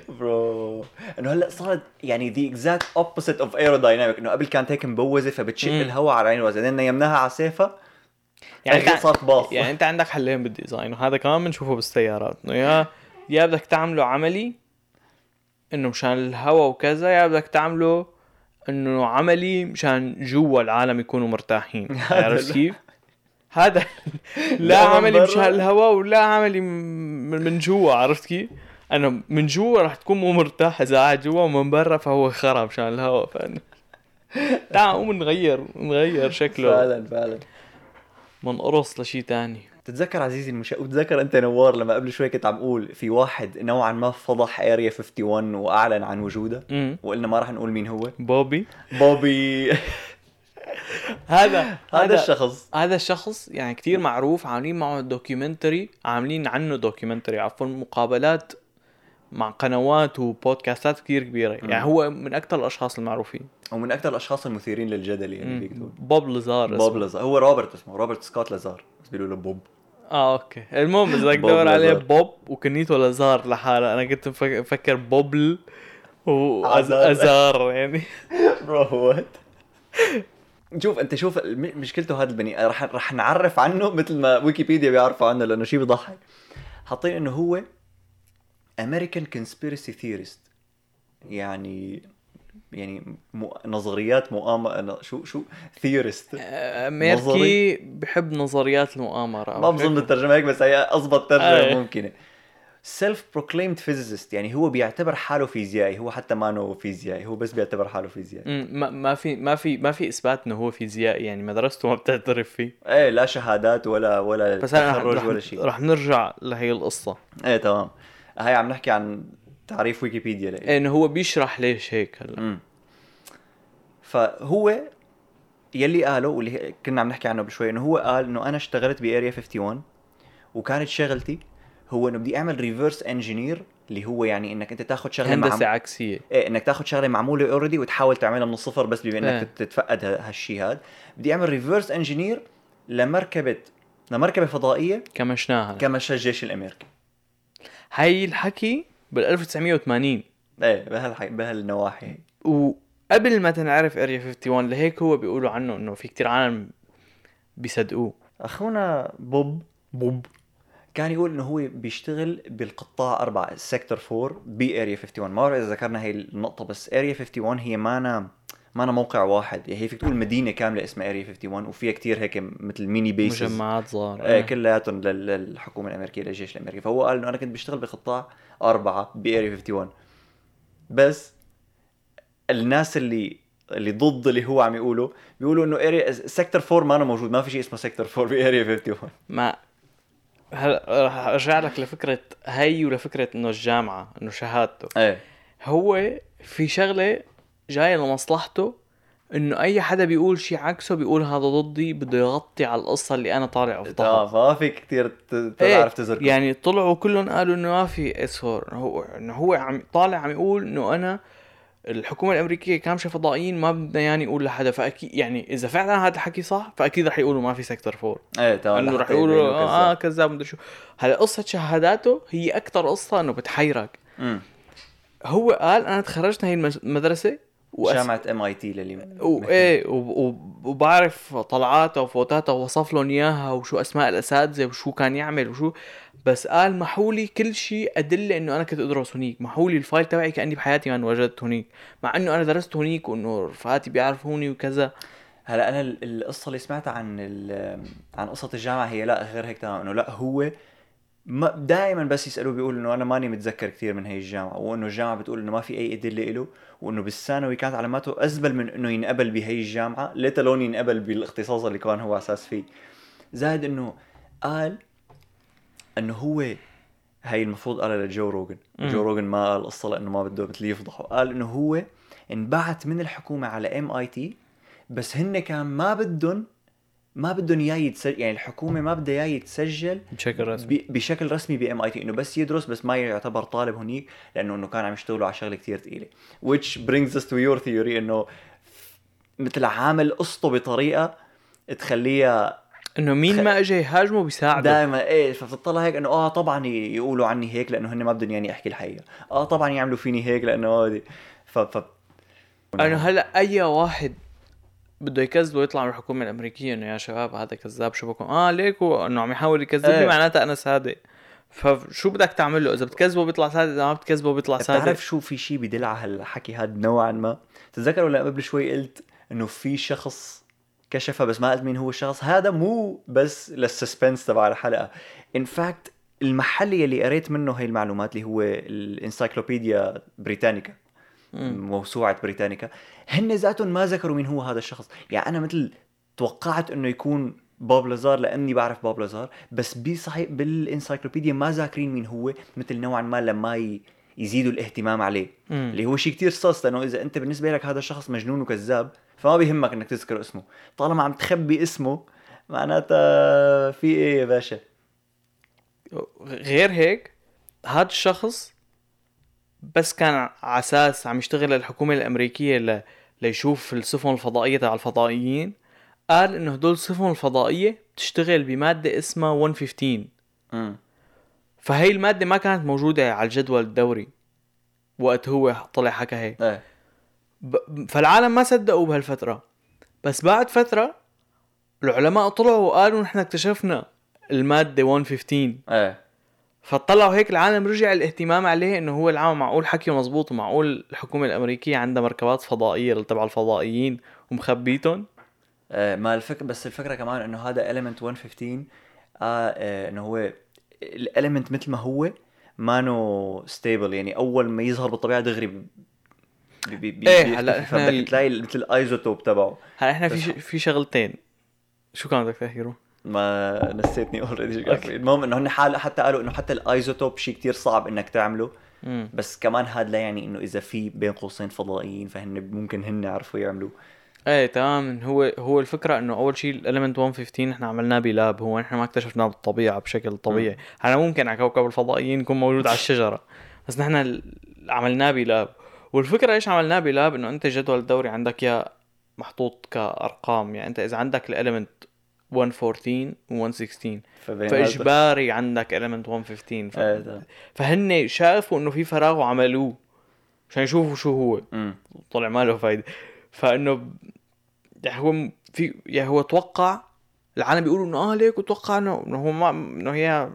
A: برو انه هلا صارت يعني ذا اكزاكت اوبوزيت اوف ايرودايناميك انه قبل كانت هيك مبوزه فبتشق
B: مم.
A: الهواء على عين وزنين نيمناها على سيفها
B: يعني
A: يعني
B: تع-
A: صارت باص
B: يعني انت عندك حلين بالديزاين وهذا كمان بنشوفه بالسيارات انه يا يا بدك تعمله عملي انه مشان الهوا وكذا يا بدك تعمله انه عملي مشان جوا العالم يكونوا مرتاحين
A: هذا
B: عرفت
A: لا.
B: كيف؟ هذا لا
A: لا من
B: عملي
A: برا.
B: مشان الهوا ولا عملي م- من من جوا عرفت كيف؟ انا من جوا رح تكون مو مرتاح اذا قاعد جوا ومن برا فهو خرا مشان الهوا فانا تعال قوم نغير نغير شكله
A: فعلا فعلا
B: منقرص لشي تاني
A: تتذكر عزيزي المشاهد وتذكر انت نوار لما قبل شوي كنت عم قول في واحد نوعا ما فضح اريا 51 واعلن عن وجوده
B: امم
A: وقلنا ما راح نقول مين هو
B: بوبي
A: بوبي
B: هذا
A: هذا
B: هذا
A: الشخص
B: هذا الشخص يعني كتير معروف عاملين معه دوكيومنتري عاملين عنه دوكيومنتري عفوا مقابلات مع قنوات وبودكاستات كتير كبيرة يعني هو من أكثر الأشخاص المعروفين
A: ومن اكثر الاشخاص المثيرين للجدل يعني فيك تقول.
B: بوب لزار
A: بوب
B: بوب
A: لازار هو روبرت اسمه روبرت سكوت لازار بس بيقولوا له بوب
B: اه اوكي المهم إذا بدك
A: بوب
B: تدور عليه
A: لازار.
B: بوب وكنيته لزار لحاله أنا كنت مفك- مفكر بوبل
A: عزار.
B: وأزار يعني
A: روت شوف انت شوف الم- مشكلته هذا البني رح رح نعرف عنه مثل ما ويكيبيديا بيعرفوا عنه لانه شيء بيضحك حاطين انه هو امريكان كونسبيرسي ثيورست يعني يعني مو نظريات مؤامره شو شو ثيورست
B: آه، ميركي بحب نظريات المؤامرة أو
A: ما
B: شيء.
A: بظن الترجمه هيك بس هي اضبط ترجمه
B: إيه.
A: ممكنه سيلف بروكليمد فيزيست يعني هو بيعتبر حاله فيزيائي هو حتى ما نو فيزيائي هو بس بيعتبر حاله فيزيائي
B: مم، ما ما في ما في ما في اثبات انه هو فيزيائي يعني مدرسته ما بتعترف فيه
A: ايه لا شهادات ولا ولا
B: بس انا رح-
A: تخرج
B: رح,
A: ولا شيء
B: رح نرجع لهي القصه
A: ايه تمام هاي عم نحكي عن تعريف ويكيبيديا لإيه
B: انه هو بيشرح ليش هيك هلا
A: امم فهو يلي قاله واللي هي- كنا عم نحكي عنه بشوي انه هو قال انه انا اشتغلت باريا 51 وكانت شغلتي هو انه بدي اعمل ريفرس انجينير اللي هو يعني انك انت تاخذ شغله معم-
B: هندسه عكسيه
A: ايه انك تاخذ شغله معموله اوريدي وتحاول تعملها من الصفر بس بما انك
B: إيه.
A: ايه. تتفقد ه- هالشي هاد بدي اعمل ريفرس انجينير لمركبه لمركبه فضائيه
B: إيه. كمشناها كم...
A: كما شا الجيش الامريكي
B: هاي الحكي بال 1980
A: ايه بهالحي بهالنواحي
B: وقبل ما تنعرف اريا 51 لهيك هو بيقولوا عنه انه في كتير عالم بيصدقوه
A: اخونا بوب بوب كان يقول انه هو بيشتغل بالقطاع أربعة سيكتور 4 باريا 51 ما بعرف اذا ذكرنا هي النقطه بس اريا 51 هي مانا مانا موقع واحد يعني هي فيك تقول مدينه كامله اسمها اريا 51 وفيها كتير هيك مثل ميني بيسز
B: مجمعات صغار
A: آه، كلياتهم لل- للحكومه الامريكيه للجيش الامريكي فهو قال انه انا كنت بشتغل بقطاع اربعه باريا 51 بس الناس اللي اللي ضد اللي هو عم يقوله بيقولوا انه اريا سيكتور 4 ما أنا موجود ما في شيء اسمه سيكتور 4 باريا 51
B: ما هلا رح ارجع لك لفكره هي ولفكره انه الجامعه انه شهادته
A: ايه
B: هو في شغله جايه لمصلحته انه اي حدا بيقول شيء عكسه بيقول هذا ضدي بده يغطي على القصه اللي انا طالع
A: آه،
B: افضحها
A: ما في كثير
B: إيه،
A: تعرف تزركم
B: يعني طلعوا كلهم قالوا انه ما في اسهر هو انه هو عم طالع عم يقول انه انا الحكومه الامريكيه كامشه فضائيين ما بدنا يعني يقول لحدا فاكيد يعني اذا فعلا هذا الحكي صح فاكيد رح يقولوا ما في سيكتور فور
A: ايه تمام
B: انه رح
A: لحتى
B: يقولوا
A: يبينوا كذا.
B: اه كذاب مدري شو هلا قصه شهاداته هي اكثر قصه انه بتحيرك
A: أمم.
B: هو قال انا تخرجت من هي المس- المدرسه وأس-
A: جامعه ام اي تي للي
B: و... ايه و... و... وبعرف طلعاتها وفوتاتها ووصف لهم اياها وشو اسماء الاساتذه وشو كان يعمل وشو بس قال محولي كل شيء ادله انه انا كنت ادرس هنيك محولي الفايل تبعي كاني بحياتي ما وجدت هنيك مع انه انا درست هنيك وانه رفقاتي بيعرفوني وكذا
A: هلا انا ال- القصه اللي سمعتها عن ال- عن قصه الجامعه هي لا غير هيك تمام انه لا هو ما دائما بس يسالوه بيقول انه انا ماني متذكر كثير من هي الجامعه وانه الجامعه بتقول انه ما في اي ادله له وانه بالثانوي كانت علاماته ازبل من انه ينقبل بهي الجامعه ليت لون ينقبل بالاختصاص اللي كان هو اساس فيه زائد انه قال انه هو هي المفروض قالها لجو روجن
B: مم.
A: جو روجن ما قال القصه لانه ما بده مثل يفضحه قال انه هو انبعت من الحكومه على ام اي تي بس هن كان ما بدهم ما بدهم اياه يتسجل يعني الحكومه ما بدها اياه يتسجل
B: بشكل
A: ب- بشكل رسمي بام اي تي انه بس يدرس بس ما يعتبر طالب هنيك لانه انه كان عم يشتغلوا على شغله كثير ثقيله which brings us to your theory انه مثل عامل قصته بطريقه تخليها
B: انه مين ما اجى يهاجمه بيساعده
A: دائما ايه فبتطلع هيك انه اه طبعا ي- يقولوا عني هيك لانه هن ما بدهم يعني احكي الحقيقه اه طبعا يعملوا فيني هيك لانه هذه ف ف
B: انا هلا اي واحد بده يكذب ويطلع من الحكومه الامريكيه انه يا شباب هذا كذاب شو بكم اه ليك هو انه عم يحاول يكذبني
A: إيه.
B: معناتها انا صادق فشو بدك تعمل له اذا بتكذبه بيطلع صادق اذا ما بتكذبه بيطلع صادق
A: إيه، بتعرف شو في شيء بدل على هالحكي هذا نوعا ما تتذكر ولا قبل شوي قلت انه في شخص كشفها بس ما قلت مين هو الشخص هذا مو بس للسسبنس تبع الحلقه ان فاكت المحل يلي قريت منه هاي المعلومات اللي هو الانسايكلوبيديا بريتانيكا
B: مم.
A: موسوعه بريتانيكا هن ذاتهم ما ذكروا مين هو هذا الشخص يعني انا مثل توقعت انه يكون باب لازار لاني بعرف باب لازار بس بصحيح بالانسايكلوبيديا ما ذاكرين مين هو مثل نوعا ما لما ي- يزيدوا الاهتمام عليه
B: مم.
A: اللي هو شيء كتير صاص لانه اذا انت بالنسبه لك هذا الشخص مجنون وكذاب فما بيهمك انك تذكر اسمه طالما عم تخبي اسمه معناتها في ايه يا باشا
B: غير هيك هذا الشخص بس كان على اساس عم يشتغل للحكومه الامريكيه ل... ليشوف السفن الفضائيه تبع الفضائيين قال انه هدول السفن الفضائيه بتشتغل بماده اسمها 115
A: امم
B: فهي المادة ما كانت موجودة على الجدول الدوري وقت هو طلع حكى هيك
A: ايه
B: ب- فالعالم ما صدقوا بهالفترة بس بعد فترة العلماء طلعوا وقالوا نحن اكتشفنا المادة 115
A: ايه
B: فطلعوا هيك العالم رجع الاهتمام عليه انه هو العالم معقول حكيه مزبوط ومعقول الحكومة الامريكية عندها مركبات فضائية تبع الفضائيين ومخبيتهم
A: آه، ما الفكرة بس الفكرة كمان انه هذا element 115 آه آه انه هو الاليمنت مثل ما هو مانو ستيبل يعني اول ما يظهر بالطبيعه دغري بي بي بي
B: إيه، هلا
A: بيختفي.
B: إحنا ال-
A: فبدك تلاقي مثل الايزوتوب تبعه
B: هلا احنا في ش- في شغلتين شو كان بدك تحكي رو؟
A: ما نسيتني اوريدي المهم انه هن حال حتى قالوا انه حتى الايزوتوب شيء كتير صعب انك تعمله
B: مم.
A: بس كمان هذا لا يعني انه اذا في بين قوسين فضائيين فهن ممكن هن يعرفوا يعملوه
B: ايه تمام هو هو الفكره انه اول شيء الاليمنت 115 نحن عملناه بلاب هو نحن ما اكتشفناه بالطبيعه بشكل طبيعي هلا ممكن على كوكب الفضائيين يكون موجود على الشجره بس نحن ال- عملناه بلاب والفكره ايش عملناه بلاب انه انت الجدول الدوري عندك يا محطوط كارقام يعني انت اذا عندك الاليمنت 114 و116
A: فبين يعني هذا-
B: فاجباري عندك اليمنت 115 ف...
A: إيه، تمام.
B: فهن شافوا انه في فراغ وعملوه عشان يشوفوا شو هو
A: أمم.
B: طلع ما له فايده فانه ب- يعني هو م- آه في يعني هو توقع العالم بيقولوا انه اه ليك وتوقع انه إنه هو ما انه هي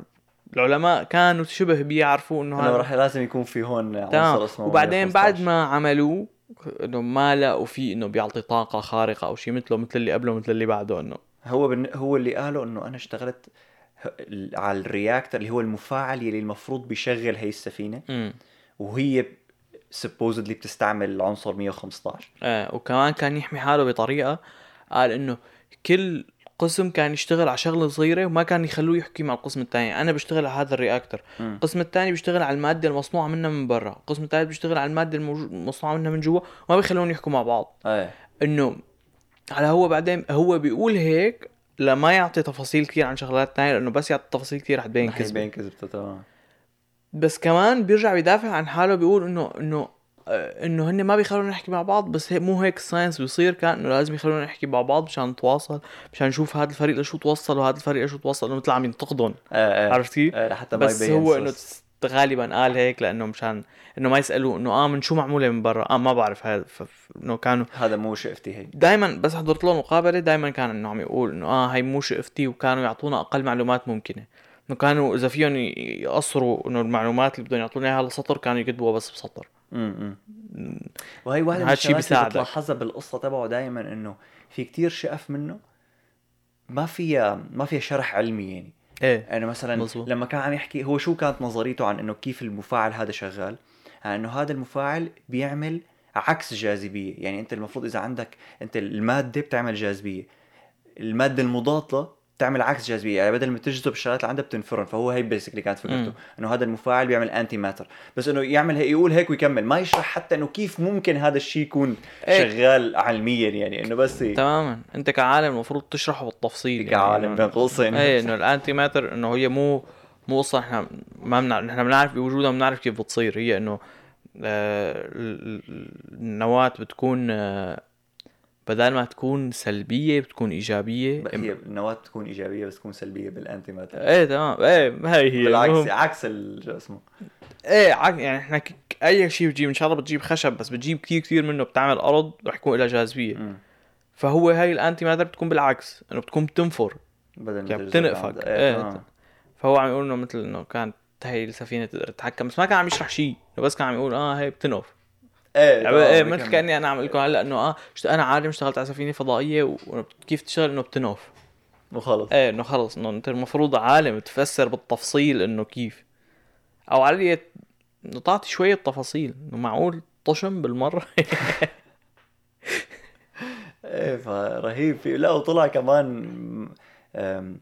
B: العلماء كانوا شبه بيعرفوا انه
A: انه
B: هذا
A: راح لازم يكون في هون
B: تمام
A: عنصر اسمه
B: وبعدين بعد
A: 115.
B: ما عملوه انه ما لقوا فيه انه بيعطي طاقه خارقه او شيء مثله مثل اللي قبله مثل اللي بعده انه
A: هو بن... هو اللي قاله انه انا اشتغلت ه- على الرياكتر اللي هو المفاعل اللي المفروض بيشغل هي السفينه
B: امم
A: وهي سبوزدلي بتستعمل العنصر 115
B: آه وكمان كان يحمي حاله بطريقه قال انه كل قسم كان يشتغل على شغله صغيره وما كان يخلوه يحكي مع القسم الثاني انا بشتغل على هذا الرياكتر
A: مم.
B: القسم الثاني بيشتغل على الماده المصنوعه منها من برا القسم الثالث بيشتغل على الماده الموجو- المصنوعه منها من جوا وما بيخلون يحكوا مع بعض
A: ايه
B: إيه. انه على هو بعدين هو بيقول هيك لما يعطي تفاصيل كثير عن شغلات تانية لانه بس يعطي تفاصيل كثير رح تبين
A: ينكذب
B: كذبه
A: ينكذب تمام
B: بس كمان بيرجع بيدافع عن حاله بيقول انه انه آه، انه هن ما بيخلونا نحكي مع بعض بس هي مو هيك الساينس بيصير كان انه لازم يخلونا نحكي مع بعض مشان نتواصل مشان نشوف هذا الفريق لشو توصل وهذا الفريق لشو توصل انه مثل عم ينتقدهم
A: ايه ايه
B: عرفت كيف؟
A: إيه، لحتى ما
B: بس
A: يبين
B: هو انه
A: سوس.
B: غالبا قال هيك لانه مشان انه ما يسالوه انه اه من شو معموله من برا اه ما بعرف هذا ف- ف- انه كانوا
A: هذا مو شقفتي هي
B: دائما بس حضرت له مقابله دائما كان انه عم يقول انه اه هي مو شقفتي وكانوا يعطونا اقل معلومات ممكنه انه كانوا اذا فيهم ي- يقصروا انه المعلومات اللي بدهم يعطونا اياها على سطر كانوا يكتبوها بس بسطر
A: امم وهي واحدة من
B: هاد
A: الشغلات
B: الشي
A: اللي
B: بيساعدك.
A: بتلاحظها بالقصة تبعه دائما انه في كتير شقف منه ما فيها ما فيها شرح علمي يعني
B: ايه
A: يعني مثلا
B: مظبوط.
A: لما كان عم يحكي هو شو كانت نظريته عن انه كيف المفاعل هذا شغال عن انه هذا المفاعل بيعمل عكس جاذبية يعني انت المفروض اذا عندك انت المادة بتعمل جاذبية المادة المضادة بتعمل عكس جاذبية يعني بدل ما تجذب الشغلات اللي عندها بتنفرن فهو هي بيسكلي كانت فكرته
B: مم.
A: انه هذا المفاعل بيعمل انتي ماتر بس انه يعمل هيك يقول هيك ويكمل ما يشرح حتى انه كيف ممكن هذا الشيء يكون
B: إيه. طيب.
A: شغال علميا يعني انه بس
B: تماما انت كعالم المفروض تشرحه بالتفصيل يعني
A: إيه، كعالم
B: إنه-
A: بين قوسين
B: ايه انه الانتي ماتر انه هي مو مو اصلا احنا ما بنعرف نحن بنعرف بوجودها بنعرف كيف بتصير هي انه آه، ال- ال- النواة بتكون آه، بدل ما تكون سلبية بتكون إيجابية
A: هي النواة تكون ايجابية بس تكون سلبية بالانتي ماتر
B: ايه تمام ايه هاي هي
A: بالعكس يعني.
B: المهم.
A: عكس ال- شو اسمه
B: ايه عك... يعني احنا ك... اي شيء بتجيب ان شاء الله بتجيب خشب بس بتجيب كثير كثير منه بتعمل ارض رح يكون لها جاذبيه
A: مم.
B: فهو هاي الانتي ماتر بتكون بالعكس انه بتكون بتنفر
A: بدل ما آه.
B: يعني
A: تجذب
B: بتنقفك.
A: عند-
B: إيه،
A: تمام.
B: فهو عم يقول انه مثل انه كانت هي السفينه تقدر تتحكم بس ما كان عم يشرح شيء بس كان عم يقول اه هي بتنقف
A: ايه
B: يعني
A: تمام،
B: ايه
A: بكمل.
B: مثل كاني انا عم لكم هلا انه اه شت- انا عالم اشتغلت على سفينه فضائيه وكيف تشتغل انه بتنقف
A: وخلص
B: ايه انه خلص انه انت المفروض عالم تفسر بالتفصيل انه كيف او على الأقل انه تعطي شوية تفاصيل انه معقول طشم بالمرة إيه،
A: ايه فرهيب في لا وطلع كمان أم،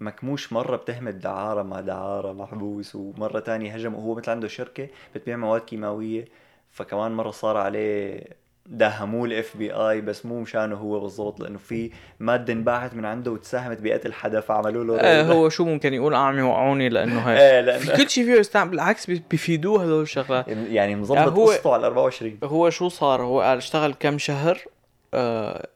A: مكموش مرة بتهمة دعارة مع دعارة محبوس ومرة تانية هجم وهو مثل عنده شركة بتبيع مواد كيماوية فكمان مرة صار عليه داهموه الاف بي اي بس مو مشانه هو بالضبط لانه في مادة انباعت من عنده وتساهمت بقتل حدا فعملوا له
B: ايه
A: ريد.
B: هو شو ممكن يقول اعمي وقعوني لانه هيك
A: ايه
B: في
A: لانه
B: كل شيء فيه يستعمل بالعكس بي- بيفيدوه هدول الشغلات
A: يعني مظبط
B: يعني هو-
A: قصته على 24
B: هو شو صار هو قال اشتغل كم شهر آه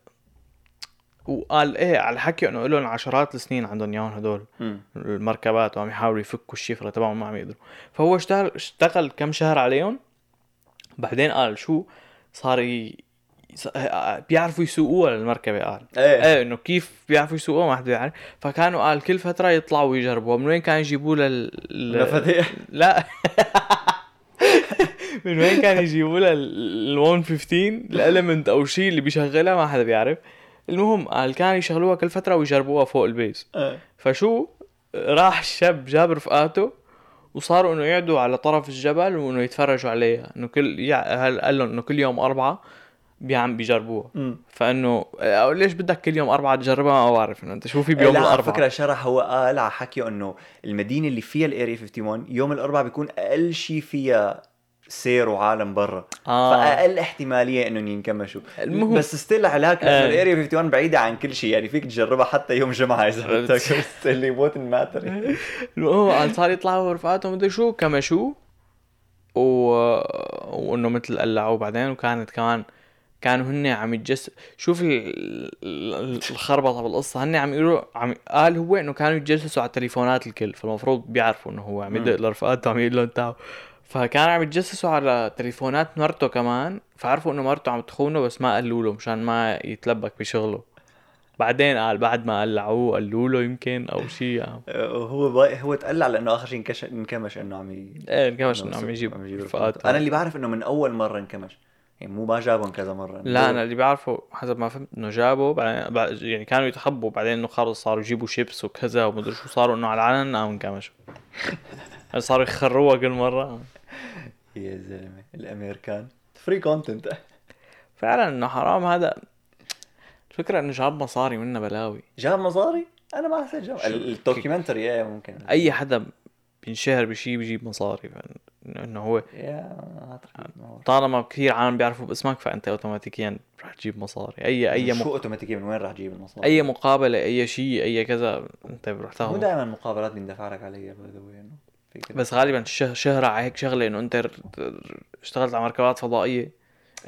B: وقال ايه على حكي انه لهم عشرات السنين عندهم اياهم هدول
A: مم.
B: المركبات وعم يحاولوا يفكوا الشفرة تبعهم ما عم يقدروا فهو اشتغل اشتغل كم شهر عليهم بعدين قال شو صار ي... ص- بيعرفوا يسوقوها للمركبة قال
A: ايه
B: ايه انه كيف بيعرفوا يسوقوها ما حدا بيعرف فكانوا قال كل فترة يطلعوا ويجربوها من وين كان يجيبوا لل ال...
A: مفاتيح
B: لا من وين كان يجيبوا لها ال 115 الاليمنت او شيء اللي بيشغلها ما حدا بيعرف المهم قال كانوا يشغلوها كل فترة ويجربوها فوق البيس
A: إيه.
B: فشو راح الشاب جاب رفقاته وصاروا انه يقعدوا على طرف الجبل وانه يتفرجوا عليها انه كل يع... هل- قال لهم انه كل يوم اربعه بيعم بيجربوها
A: مم.
B: فانه أو ليش بدك كل يوم اربعه تجربها ما بعرف انه انت شو في بيوم
A: لا على
B: الاربعاء
A: فكره شرح هو قال على حكيه انه المدينه اللي فيها الاريا 51 يوم الاربعاء بيكون اقل شيء فيها سير وعالم برا
B: آه.
A: فاقل احتماليه انهم ينكمشوا
B: المهم.
A: بس ستيل علاك انه
B: آه.
A: الاريا 51 بعيده عن كل شيء يعني فيك تجربها حتى يوم جمعه اذا بدك بس اللي ووت ماتر
B: المهم قال صار يطلعوا ورفقاته مدري شو كمشوا و... وانه مثل قلعوا بعدين وكانت كمان كانوا هن عم يتجس شوف ال... ال- الخربطه بالقصه هن عم يقولوا عم قال هو انه كانوا يتجسسوا على تليفونات الكل فالمفروض بيعرفوا انه هو عم يدق لرفقاته عم يقول لهم تعالوا فكان عم يتجسسوا على تليفونات مرته كمان فعرفوا انه مرته عم تخونه بس ما قالوا له مشان ما يتلبك بشغله بعدين قال بعد ما قلعوه قالوا له يمكن يعني. او شيء
A: هو با... هو تقلع لانه اخر شيء انكش... انكمش انه عم ي...
B: ايه انكمش انه عم يجيب رفقات
A: انا اللي بعرف انه من اول مره انكمش يعني مو ما جابهم كذا مره
B: لا انا اللي بعرفه حسب ما فهمت انه جابوا بعدين بعد- يعني كانوا يتخبوا بعدين انه خلص صاروا يجيبوا شيبس وكذا ومدري شو صاروا انه على العلن قاموا انكمشوا صاروا يخروها كل مره
A: يا زلمه الامريكان فري كونتنت
B: فعلا انه حرام هذا الفكره انه جاب مصاري منا بلاوي
A: جاب مصاري انا ما حسيت جاب
B: شو-
A: ال- الدوكيومنتري ايه ممكن
B: اي حدا بينشهر بشيء بيجيب مصاري فإن- انه هو
A: يا ما أعتقد ما هو.
B: طالما كثير عالم بيعرفوا باسمك فانت اوتوماتيكيا رح تجيب مصاري اي اي
A: شو
B: مق...
A: اوتوماتيكيا من وين راح تجيب المصاري؟
B: اي مقابله اي شيء اي كذا انت رح
A: مو
B: تاخذ
A: دائما مقابلات بيندفع لك عليها باي ذا واي انه في كده.
B: بس غالبا الشه- شهره على هيك شغله انه انت ر- ر- اشتغلت على مركبات فضائيه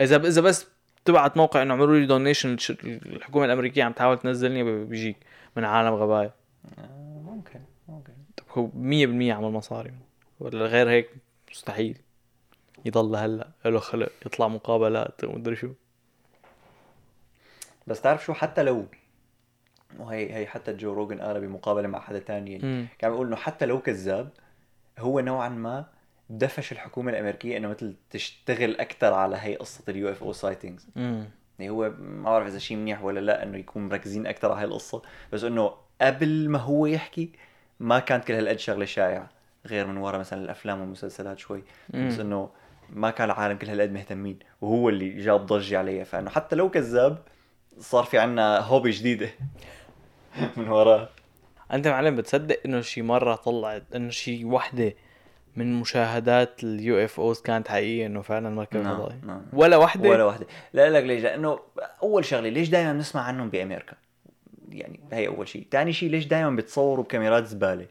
B: اذا ب... اذا بس تبعت موقع انه اعملوا لي دونيشن الحكومه الامريكيه عم تحاول تنزلني ب- بيجيك من عالم غبايه
A: آه، ممكن ممكن
B: طب هو 100% عمل مصاري ولا غير هيك مستحيل يضل هلا له خلق يطلع مقابلات ومدري شو
A: بس تعرف شو حتى لو وهي هي حتى جو روجن قال بمقابله مع حدا تاني يعني
B: مم.
A: كان بيقول انه حتى لو كذاب هو نوعا ما دفش الحكومه الامريكيه انه مثل تشتغل اكثر على هي قصه اليو اف او سايتنجز
B: مم.
A: يعني هو ما بعرف اذا شيء منيح ولا لا انه يكون مركزين اكثر على هي القصه بس انه قبل ما هو يحكي ما كانت كل هالقد شغله شائعه غير من ورا مثلا الافلام والمسلسلات شوي
B: مم.
A: بس انه ما كان العالم كل هالقد مهتمين وهو اللي جاب ضجه عليها فانه حتى لو كذاب صار في عنا هوبي جديده من وراه
B: انت معلم بتصدق انه شي مره طلعت انه شي وحده من مشاهدات اليو اف اوز كانت حقيقيه انه فعلا مركبه
A: نعم،
B: فضائيه
A: نعم.
B: ولا وحده
A: ولا وحده لا لك ليش لانه اول شغله ليش دائما بنسمع عنهم بامريكا يعني هي اول شيء ثاني شيء ليش دائما بتصوروا بكاميرات زباله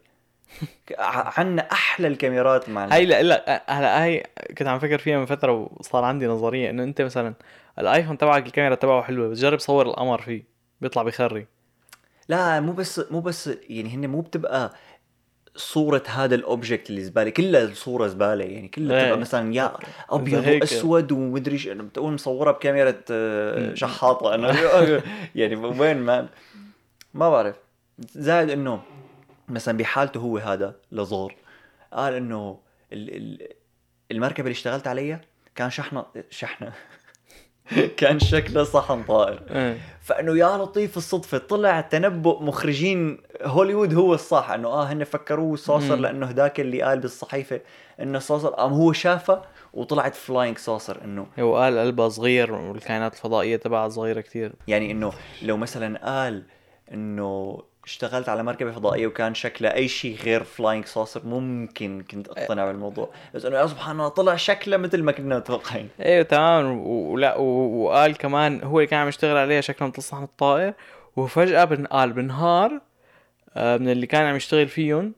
A: ك- ع- عنا احلى الكاميرات مع
B: هاي لا لا هلا هاي كنت عم فكر فيها من فتره وصار عندي نظريه انه انت مثلا الايفون تبعك الكاميرا تبعه حلوه بس جرب صور القمر فيه بيطلع بخري
A: لا مو بس مو بس يعني هن مو بتبقى صورة هذا الاوبجكت اللي زبالة كلها صورة زبالة يعني كلها
B: إيه.
A: بتبقى مثلا يا ابيض
B: هيك.
A: واسود ومدري ايش بتقول مصورة بكاميرا آه، شحاطة انا يعني وين ما ما بعرف زائد انه مثلا بحالته هو هذا لزور قال انه ال- ال- المركبة اللي اشتغلت عليها كان شحنة شحنة كان شكلها صحن طائر
B: إيه.
A: فانه يا لطيف الصدفه طلع تنبؤ مخرجين هوليوود هو الصح انه اه هن فكروه صاصر
B: مم.
A: لانه هداك اللي قال بالصحيفه انه صاصر قام هو شافه وطلعت فلاينج صاصر انه
B: هو قال قلبها صغير والكائنات الفضائيه تبعها صغيره كثير
A: يعني انه لو مثلا قال انه اشتغلت على مركبه فضائيه وكان شكلها اي شيء غير فلاينج صاصر ممكن كنت اقتنع بالموضوع بس انه يا سبحان الله طلع شكله مثل ما كنا متوقعين
B: ايوه تمام و- ولا و- وقال كمان هو اللي كان عم يشتغل عليها شكله مثل صحن الطائر وفجأة بن- قال بنهار آه، من اللي كان عم يشتغل فيهم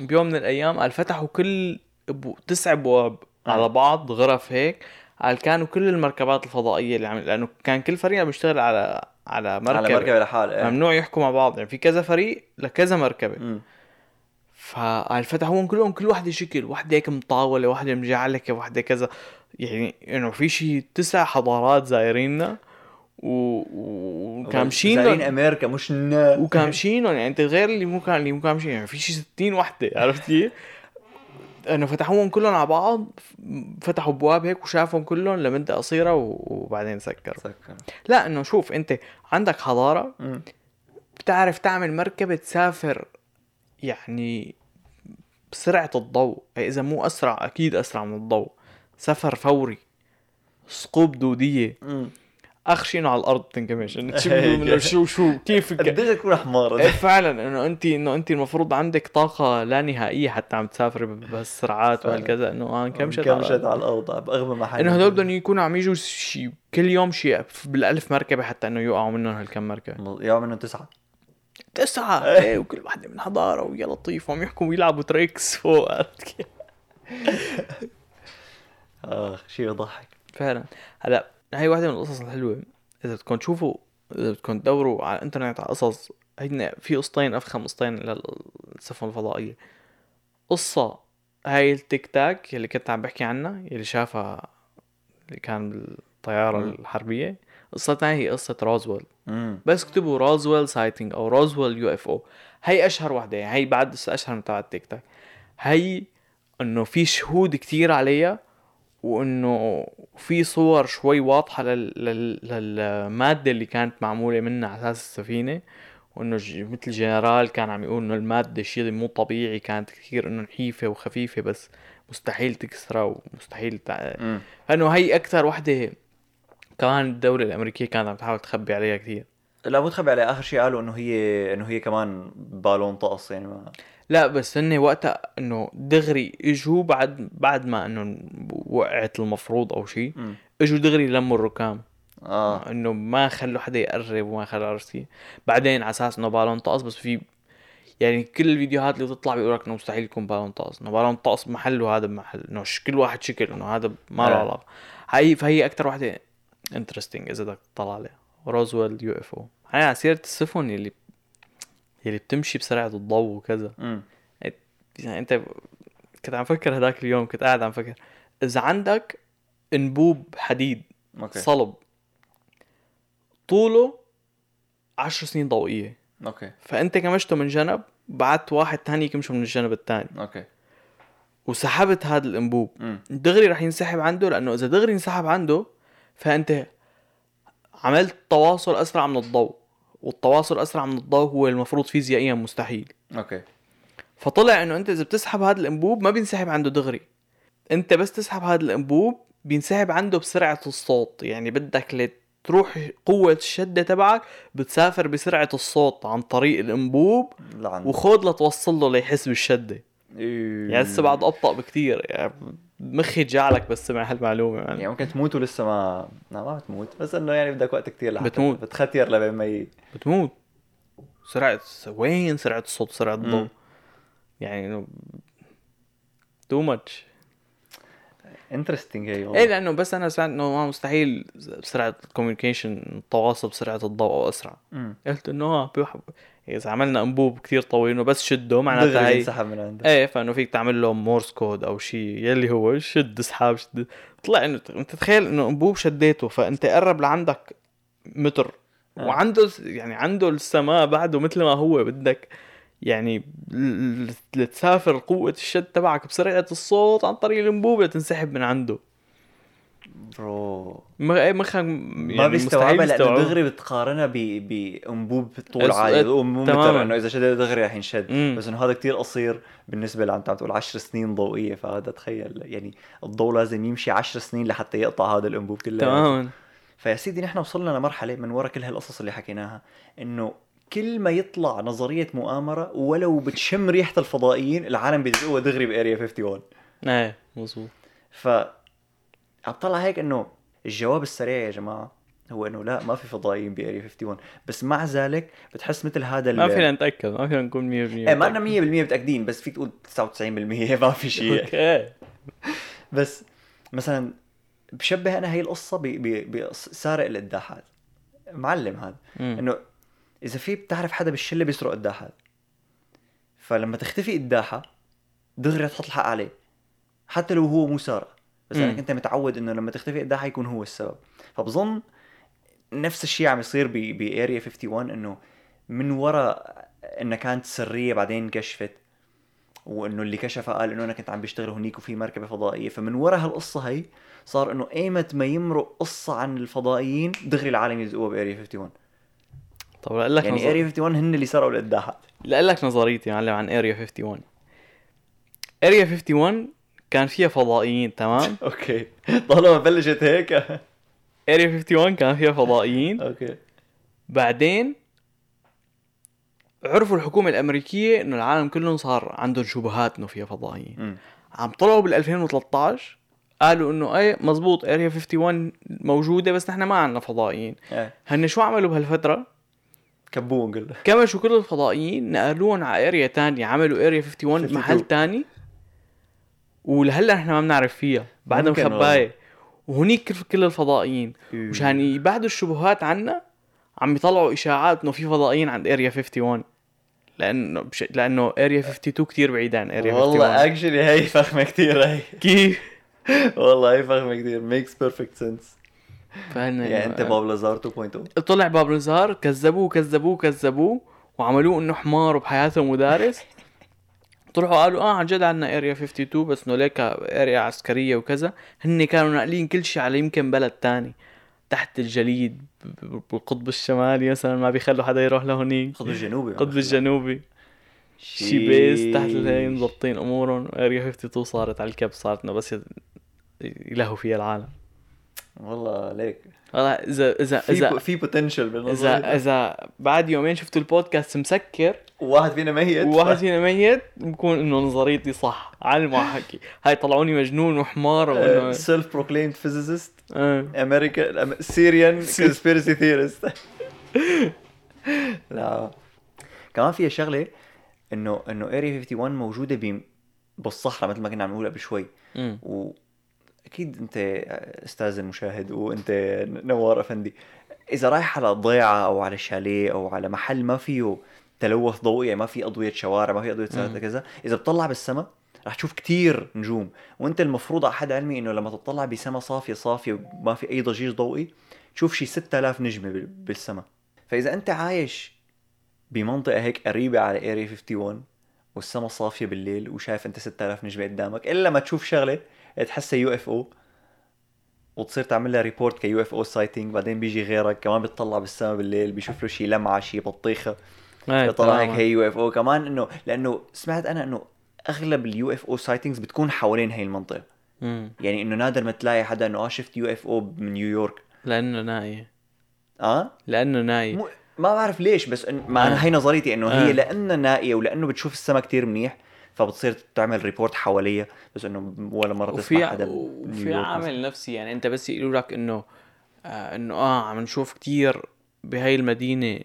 B: بيوم من الايام قال فتحوا كل بو تسع ابواب على بعض غرف هيك قال كانوا كل المركبات الفضائية اللي عم لانه كان كل فريق عم يشتغل على على مركبة,
A: على مركبه لحالها
B: ممنوع يحكوا مع بعض يعني في كذا فريق لكذا مركبة
A: مم.
B: فقال فتحوهم كلهم كل وحده شكل وحده هيك مطاوله وحده مجعلكه وحده كذا يعني انه في شيء تسع حضارات زايريننا و... و...
A: زارين
B: وكامشين
A: امريكا مش نا
B: وكامشين يعني انت غير اللي مو كان اللي مو كامشين يعني في شي 60 وحده عرفت كيف؟ انه فتحوهم كلهم على بعض فتحوا ابواب هيك وشافهم كلهم لمده قصيره و... وبعدين سكروا
A: سكر.
B: لا انه شوف انت عندك حضاره
A: مم.
B: بتعرف تعمل مركبة تسافر يعني بسرعة الضوء أي إذا مو أسرع أكيد أسرع من الضوء سفر فوري ثقوب دودية
A: مم.
B: أخشي إنه على الأرض تنكمش إنه شو- إنه شو شو كيف ك-
A: قديش تكون حمار
B: إيه فعلا انه انت انه انت المفروض عندك طاقه لا نهائيه حتى عم تسافري ب- بهالسرعات
A: فعلا.
B: وهالكذا انه اه انكمشت
A: كمشت على الارض باغبى محل
B: انه هدول بدهم يكونوا عم يجوا شي كل يوم شي بالالف مركبه حتى انه يوقعوا منهم هالكم مركبه
A: يا منهم تسعه
B: تسعة ايه وكل واحدة من حضارة ويا لطيف وعم يحكوا ويلعبوا تريكس فوق عرفت كيف؟
A: اخ شيء يضحك
B: فعلا هلا هاي واحدة من القصص الحلوة إذا بدكم تشوفوا إذا بدكم تدوروا على الإنترنت على قصص هيدنا في قصتين أفخم قصتين للسفن الفضائية قصة هاي التيك تاك اللي كنت عم بحكي عنها اللي شافها اللي كان بالطيارة
A: مم.
B: الحربية قصتنا هي قصه روزويل
A: امم
B: بس اكتبوا روزويل سايتنج او روزويل يو اف او هي اشهر وحده يعني هي بعد اشهر من تبع تيك توك هي انه في شهود كتير عليها وانه في صور شوي واضحه لل... لل... للماده اللي كانت معموله منها على اساس السفينه وانه ج... مثل جنرال كان عم يقول انه الماده شيء مو طبيعي كانت كثير انه نحيفه وخفيفه بس مستحيل تكسرها ومستحيل تع...
A: امم
B: فانه هي اكثر وحده كمان الدوله الامريكيه كانت عم تحاول تخبي عليها كثير
A: لا مو تخبي عليه اخر شيء قالوا انه هي انه هي كمان بالون طقس يعني ما
B: لا بس هن وقتها انه دغري اجوا بعد بعد ما انه وقعت المفروض او شيء
A: مم.
B: اجوا دغري لموا الركام
A: اه
B: انه ما خلوا حدا يقرب وما خلوا عرفتي بعدين على اساس انه بالون طقس بس في يعني كل الفيديوهات اللي بتطلع بيقول لك انه مستحيل يكون بالون طقس انه بالون طقس محله هذا بمحل انه ش- كل واحد شكل انه هذا ما له
A: آه.
B: علاقه هي فهي اكثر وحده انترستنج اذا بدك تطلع عليها روزويل يو اف او هلا على سيره السفن يلي يلي بتمشي بسرعه الضوء وكذا
A: امم
B: يعني انت كنت عم فكر هذاك اليوم كنت قاعد عم فكر اذا عندك انبوب حديد
A: اوكي
B: صلب طوله عشر سنين ضوئية
A: اوكي
B: فأنت كمشته من جنب بعت واحد تاني يكمشه من الجنب التاني
A: اوكي
B: وسحبت هذا الانبوب
A: امم
B: دغري رح ينسحب عنده لأنه إذا دغري انسحب عنده فأنت عملت تواصل أسرع من الضوء والتواصل أسرع من الضوء هو المفروض فيزيائيا مستحيل
A: اوكي
B: فطلع انه انت اذا بتسحب هذا الانبوب ما بينسحب عنده دغري انت بس تسحب هذا الانبوب بينسحب عنده بسرعه الصوت يعني بدك لت- تروح قوة الشدة تبعك بتسافر بسرعة الصوت عن طريق الانبوب
A: لعن
B: وخود لتوصل له ليحس بالشدة
A: إيه.
B: يعني هسه بعد ابطأ بكتير يعني مخي جعلك بس سمع هالمعلومة يعني
A: يعني ممكن تموت ولسه ما لا ما بتموت بس انه يعني بدك وقت كتير لحتى
B: بتموت.
A: بتختير لبين ما ي...
B: بتموت سرعة وين سرعة الصوت سرعة الضوء
A: مم.
B: يعني انه تو ماتش
A: انترستنج هي والله
B: ايه لانه بس انا سمعت انه ما مستحيل بسرعه الكوميونيكيشن التواصل بسرعه الضوء او اسرع
A: مم.
B: قلت انه اه بيوح- اذا عملنا انبوب كتير طويل انه بس شده معناتها
A: دغري
B: هي
A: انسحب من عنده
B: ايه فانه فيك تعمل له مورس كود او شيء يلي هو شد اسحاب شد طلع انه انت تخيل انه انبوب شديته فانت قرب لعندك متر
A: آه.
B: وعنده يعني عنده السماء بعده مثل ما هو بدك يعني ل- ل- لتسافر قوة الشد تبعك بسرعة الصوت عن طريق الانبوب لتنسحب من عنده إيه.
A: برو
B: ما يعني مخك
A: ما بيستوعبها لانه دغري بتقارنها ب بانبوب طول
B: أس-
A: عالي
B: أت-
A: ومو
B: إيه، تماماً.
A: متر انه اذا شديد دغري رح ينشد
B: مم.
A: بس انه هذا كتير قصير بالنسبه لعم عم تقول 10 سنين ضوئيه فهذا تخيل يعني الضوء لازم يمشي 10 سنين لحتى يقطع هذا الانبوب كله
B: تماما
A: فيا سيدي نحن وصلنا لمرحله من وراء كل هالقصص اللي حكيناها انه كل ما يطلع نظريه مؤامره ولو بتشم ريحه الفضائيين العالم بيدقوها دغري باريا 51
B: ايه مظبوط
A: ف عم طلع هيك انه الجواب السريع يا جماعه هو انه لا ما في فضائيين باريا 51 بس مع ذلك بتحس مثل هذا
B: ما فينا نتاكد ما فينا نكون 100%
A: ايه ما لنا 100% متاكدين بس فيك تقول 99% ما في شيء
B: اوكي
A: بس مثلا بشبه انا هي القصه ب- ب- بسارق القداحات معلم هذا
B: مم.
A: انه اذا في بتعرف حدا بالشله بيسرق قداحات فلما تختفي قداحه دغري تحط الحق عليه حتى لو هو مو سارق بس
B: مم.
A: لانك انت متعود انه لما تختفي قداحه يكون هو السبب فبظن نفس الشيء عم يصير ب باريا 51 انه من وراء انها كانت سريه بعدين كشفت وانه اللي كشفها قال انه انا كنت عم بشتغل هنيك وفي مركبه فضائيه فمن وراء هالقصه هي صار انه ايمت ما يمرق قصه عن الفضائيين دغري العالم يزقوها باريا 51
B: طب لقلك لك
A: يعني اريا
B: نظر...
A: 51 هن اللي سرقوا القداحات
B: لقلك نظريتي يا معلم عن اريا 51 اريا 51 كان فيها فضائيين تمام
A: اوكي طالما بلشت هيك
B: اريا 51 كان فيها فضائيين
A: اوكي
B: بعدين عرفوا الحكومة الأمريكية إنه العالم كله صار عنده شبهات إنه فيها فضائيين
A: أمم.
B: عم طلعوا بال 2013 قالوا انه اي مزبوط اريا 51 موجوده بس نحن ما عندنا فضائيين
A: إيه.
B: هن شو عملوا بهالفتره
A: كبوهم قلنا
B: كمشوا كل الفضائيين نقلوهم على اريا تانية عملوا اريا 51
A: 52.
B: محل تاني ولهلا نحن ما بنعرف فيها بعدها
A: ممكن
B: مخبايه وهنيك كل- كل الفضائيين
A: إيه.
B: مشان يبعدوا الشبهات عنا عم يطلعوا اشاعات انه في فضائيين عند اريا 51 لانه بش... لانه اريا 52 كتير بعيده عن اريا 51
A: والله اكشلي هي فخمه كثير هي
B: كيف
A: والله هي فخمه كثير ميكس بيرفكت سنس
B: فهنا
A: يعني انت باب لازار oh. 2.0
B: طلع باب نزار كذبوه كذبوه كذبوه وعملوه انه حمار وبحياته مدارس طلعوا قالوا اه عن جد عندنا اريا 52 بس انه ليك اريا عسكريه وكذا هن كانوا ناقلين كل شيء على يمكن بلد تاني تحت الجليد ب- ب- بالقطب الشمالي مثلا ما بيخلوا حدا يروح لهونيك
A: القطب الجنوبي
B: القطب الجنوبي شي بيس تحت الهي مضبطين امورهم اريا 52 صارت على الكب صارت انه بس يت- يلهوا فيها العالم
A: والله ليك
B: والله اذا اذا
A: في
B: اذا
A: بو- في بوتنشل بالنظر
B: اذا اذا بعد يومين شفتوا البودكاست مسكر
A: واحد فينا ميت
B: وواحد فينا ميت بكون انه نظريتي صح على ما حكي هاي طلعوني مجنون وحمار وانه
A: سيلف بروكليمد فيزيست
B: آه.
A: امريكان سيريان كونسبيرسي ثيرست لا كمان فيها شغله انه انه اريا 51 موجوده بم- بالصحراء مثل ما كنا عم نقول قبل شوي
B: أمم.
A: واكيد انت استاذ المشاهد وانت نوار افندي اذا رايح على ضيعه او على شاليه او على محل ما فيه تلوث ضوئي يعني ما في اضويه شوارع ما في اضويه
B: مم.
A: سيارات كذا اذا بتطلع بالسماء رح تشوف كتير نجوم وانت المفروض على حد علمي انه لما تطلع بسماء صافيه صافيه وما في اي ضجيج ضوئي تشوف شي 6000 نجمه بال- بالسماء فاذا انت عايش بمنطقه هيك قريبه على اريا 51 والسما صافيه بالليل وشايف انت 6000 نجمه قدامك الا ما تشوف شغله تحسها يو اف او وتصير تعمل لها ريبورت كيو اف او سايتنج بعدين بيجي غيرك كمان بتطلع بالسما بالليل بيشوف له شي لمعه شي بطيخه
B: هاي
A: بيطلع هيك
B: تماماً.
A: هي يو اف او كمان انه لانه سمعت انا انه اغلب اليو اف او سايتنجز بتكون حوالين هي المنطقه
B: أمم.
A: يعني انه نادر ما تلاقي حدا انه اه شفت يو اف او من نيويورك
B: لانه ناي
A: اه
B: لانه ناي
A: مو ما بعرف ليش بس إن... مع
B: إيه. آه.
A: آه. هي نظريتي انه هي
B: آه.
A: آه. لانها نائيه ولانه بتشوف السما كتير منيح فبتصير تعمل ريبورت حواليها بس انه ولا مره تسمع
B: وفي
A: حدا
B: وفي
A: بنيويورك مثلاً.
B: عامل نفسي يعني انت بس يقولوا لك انه آه انه اه عم نشوف كتير بهاي المدينه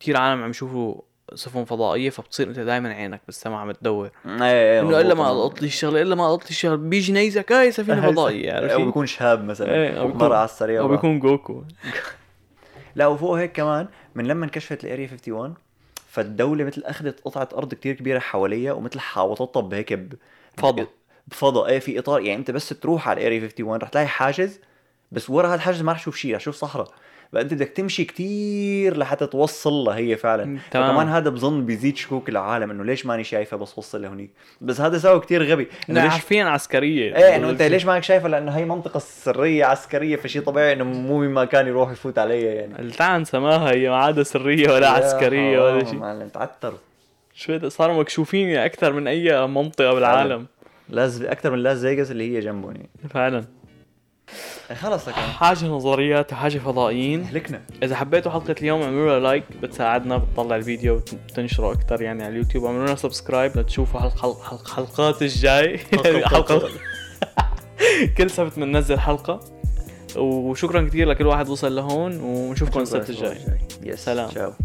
B: كتير عالم عم يشوفوا سفن فضائيه فبتصير انت دائما عينك بالسما عم تدور
A: ايه ايه
B: انه الا ما لقط لي الشغله الا ما لقط لي الشغله بيجي نيزك هاي سفينه فضائيه
A: او
B: عرفت
A: بيكون شاب مثلا
B: إيه،
A: ايه
B: أو
A: او
B: بيكون-
A: على السريع
B: او
A: بقى.
B: بيكون جوكو
A: لا وفوق هيك كمان من لما انكشفت الاريا 51 فالدوله مثل اخذت قطعه ارض كتير كبيره حواليها ومثل حاوطتها بهيك ب...
B: فضاء.
A: بفضاء ايه في اطار يعني انت بس تروح على الاريا 51 رح تلاقي حاجز بس ورا هذا الحاجز ما رح تشوف شيء رح تشوف صحراء بقى انت بدك تمشي كتير لحتى توصل لها هي
B: مم،
A: فعلا
B: تمام.
A: كمان هذا بظن بيزيد شكوك العالم انه ليش ماني شايفها بس وصل لهونيك بس هذا سوى كتير غبي انه ليش
B: عارفين عسكريه
A: ايه انه انت ليش مانك شايفها لانه هي منطقه سريه عسكريه فشي طبيعي انه مو من مكان يروح يفوت عليها يعني
B: التعن سماها هي ما عادة سرية ولا
A: يا
B: عسكرية ولا
A: حرام،
B: شيء
A: معلم تعتروا
B: شوي صاروا مكشوفين يعني أكثر من أي منطقة بالعالم
A: لاز اكثر من لاز فيغاس اللي هي جنبهم يعني
B: فعلا
A: خلص لك
B: حاجة نظريات وحاجة فضائيين
A: هلكنا
B: إذا حبيتوا حلقة اليوم اعملوا لها لايك بتساعدنا بتطلع الفيديو وتنشره أكثر يعني على اليوتيوب اعملوا لنا سبسكرايب لتشوفوا حلق حلق حلق حلقات الجاي حلقة كل سبت بننزل حلقة وشكرا كثير لكل واحد وصل لهون ونشوفكم السبت الجاي
A: يس سلام
B: سلام.
A: تشاو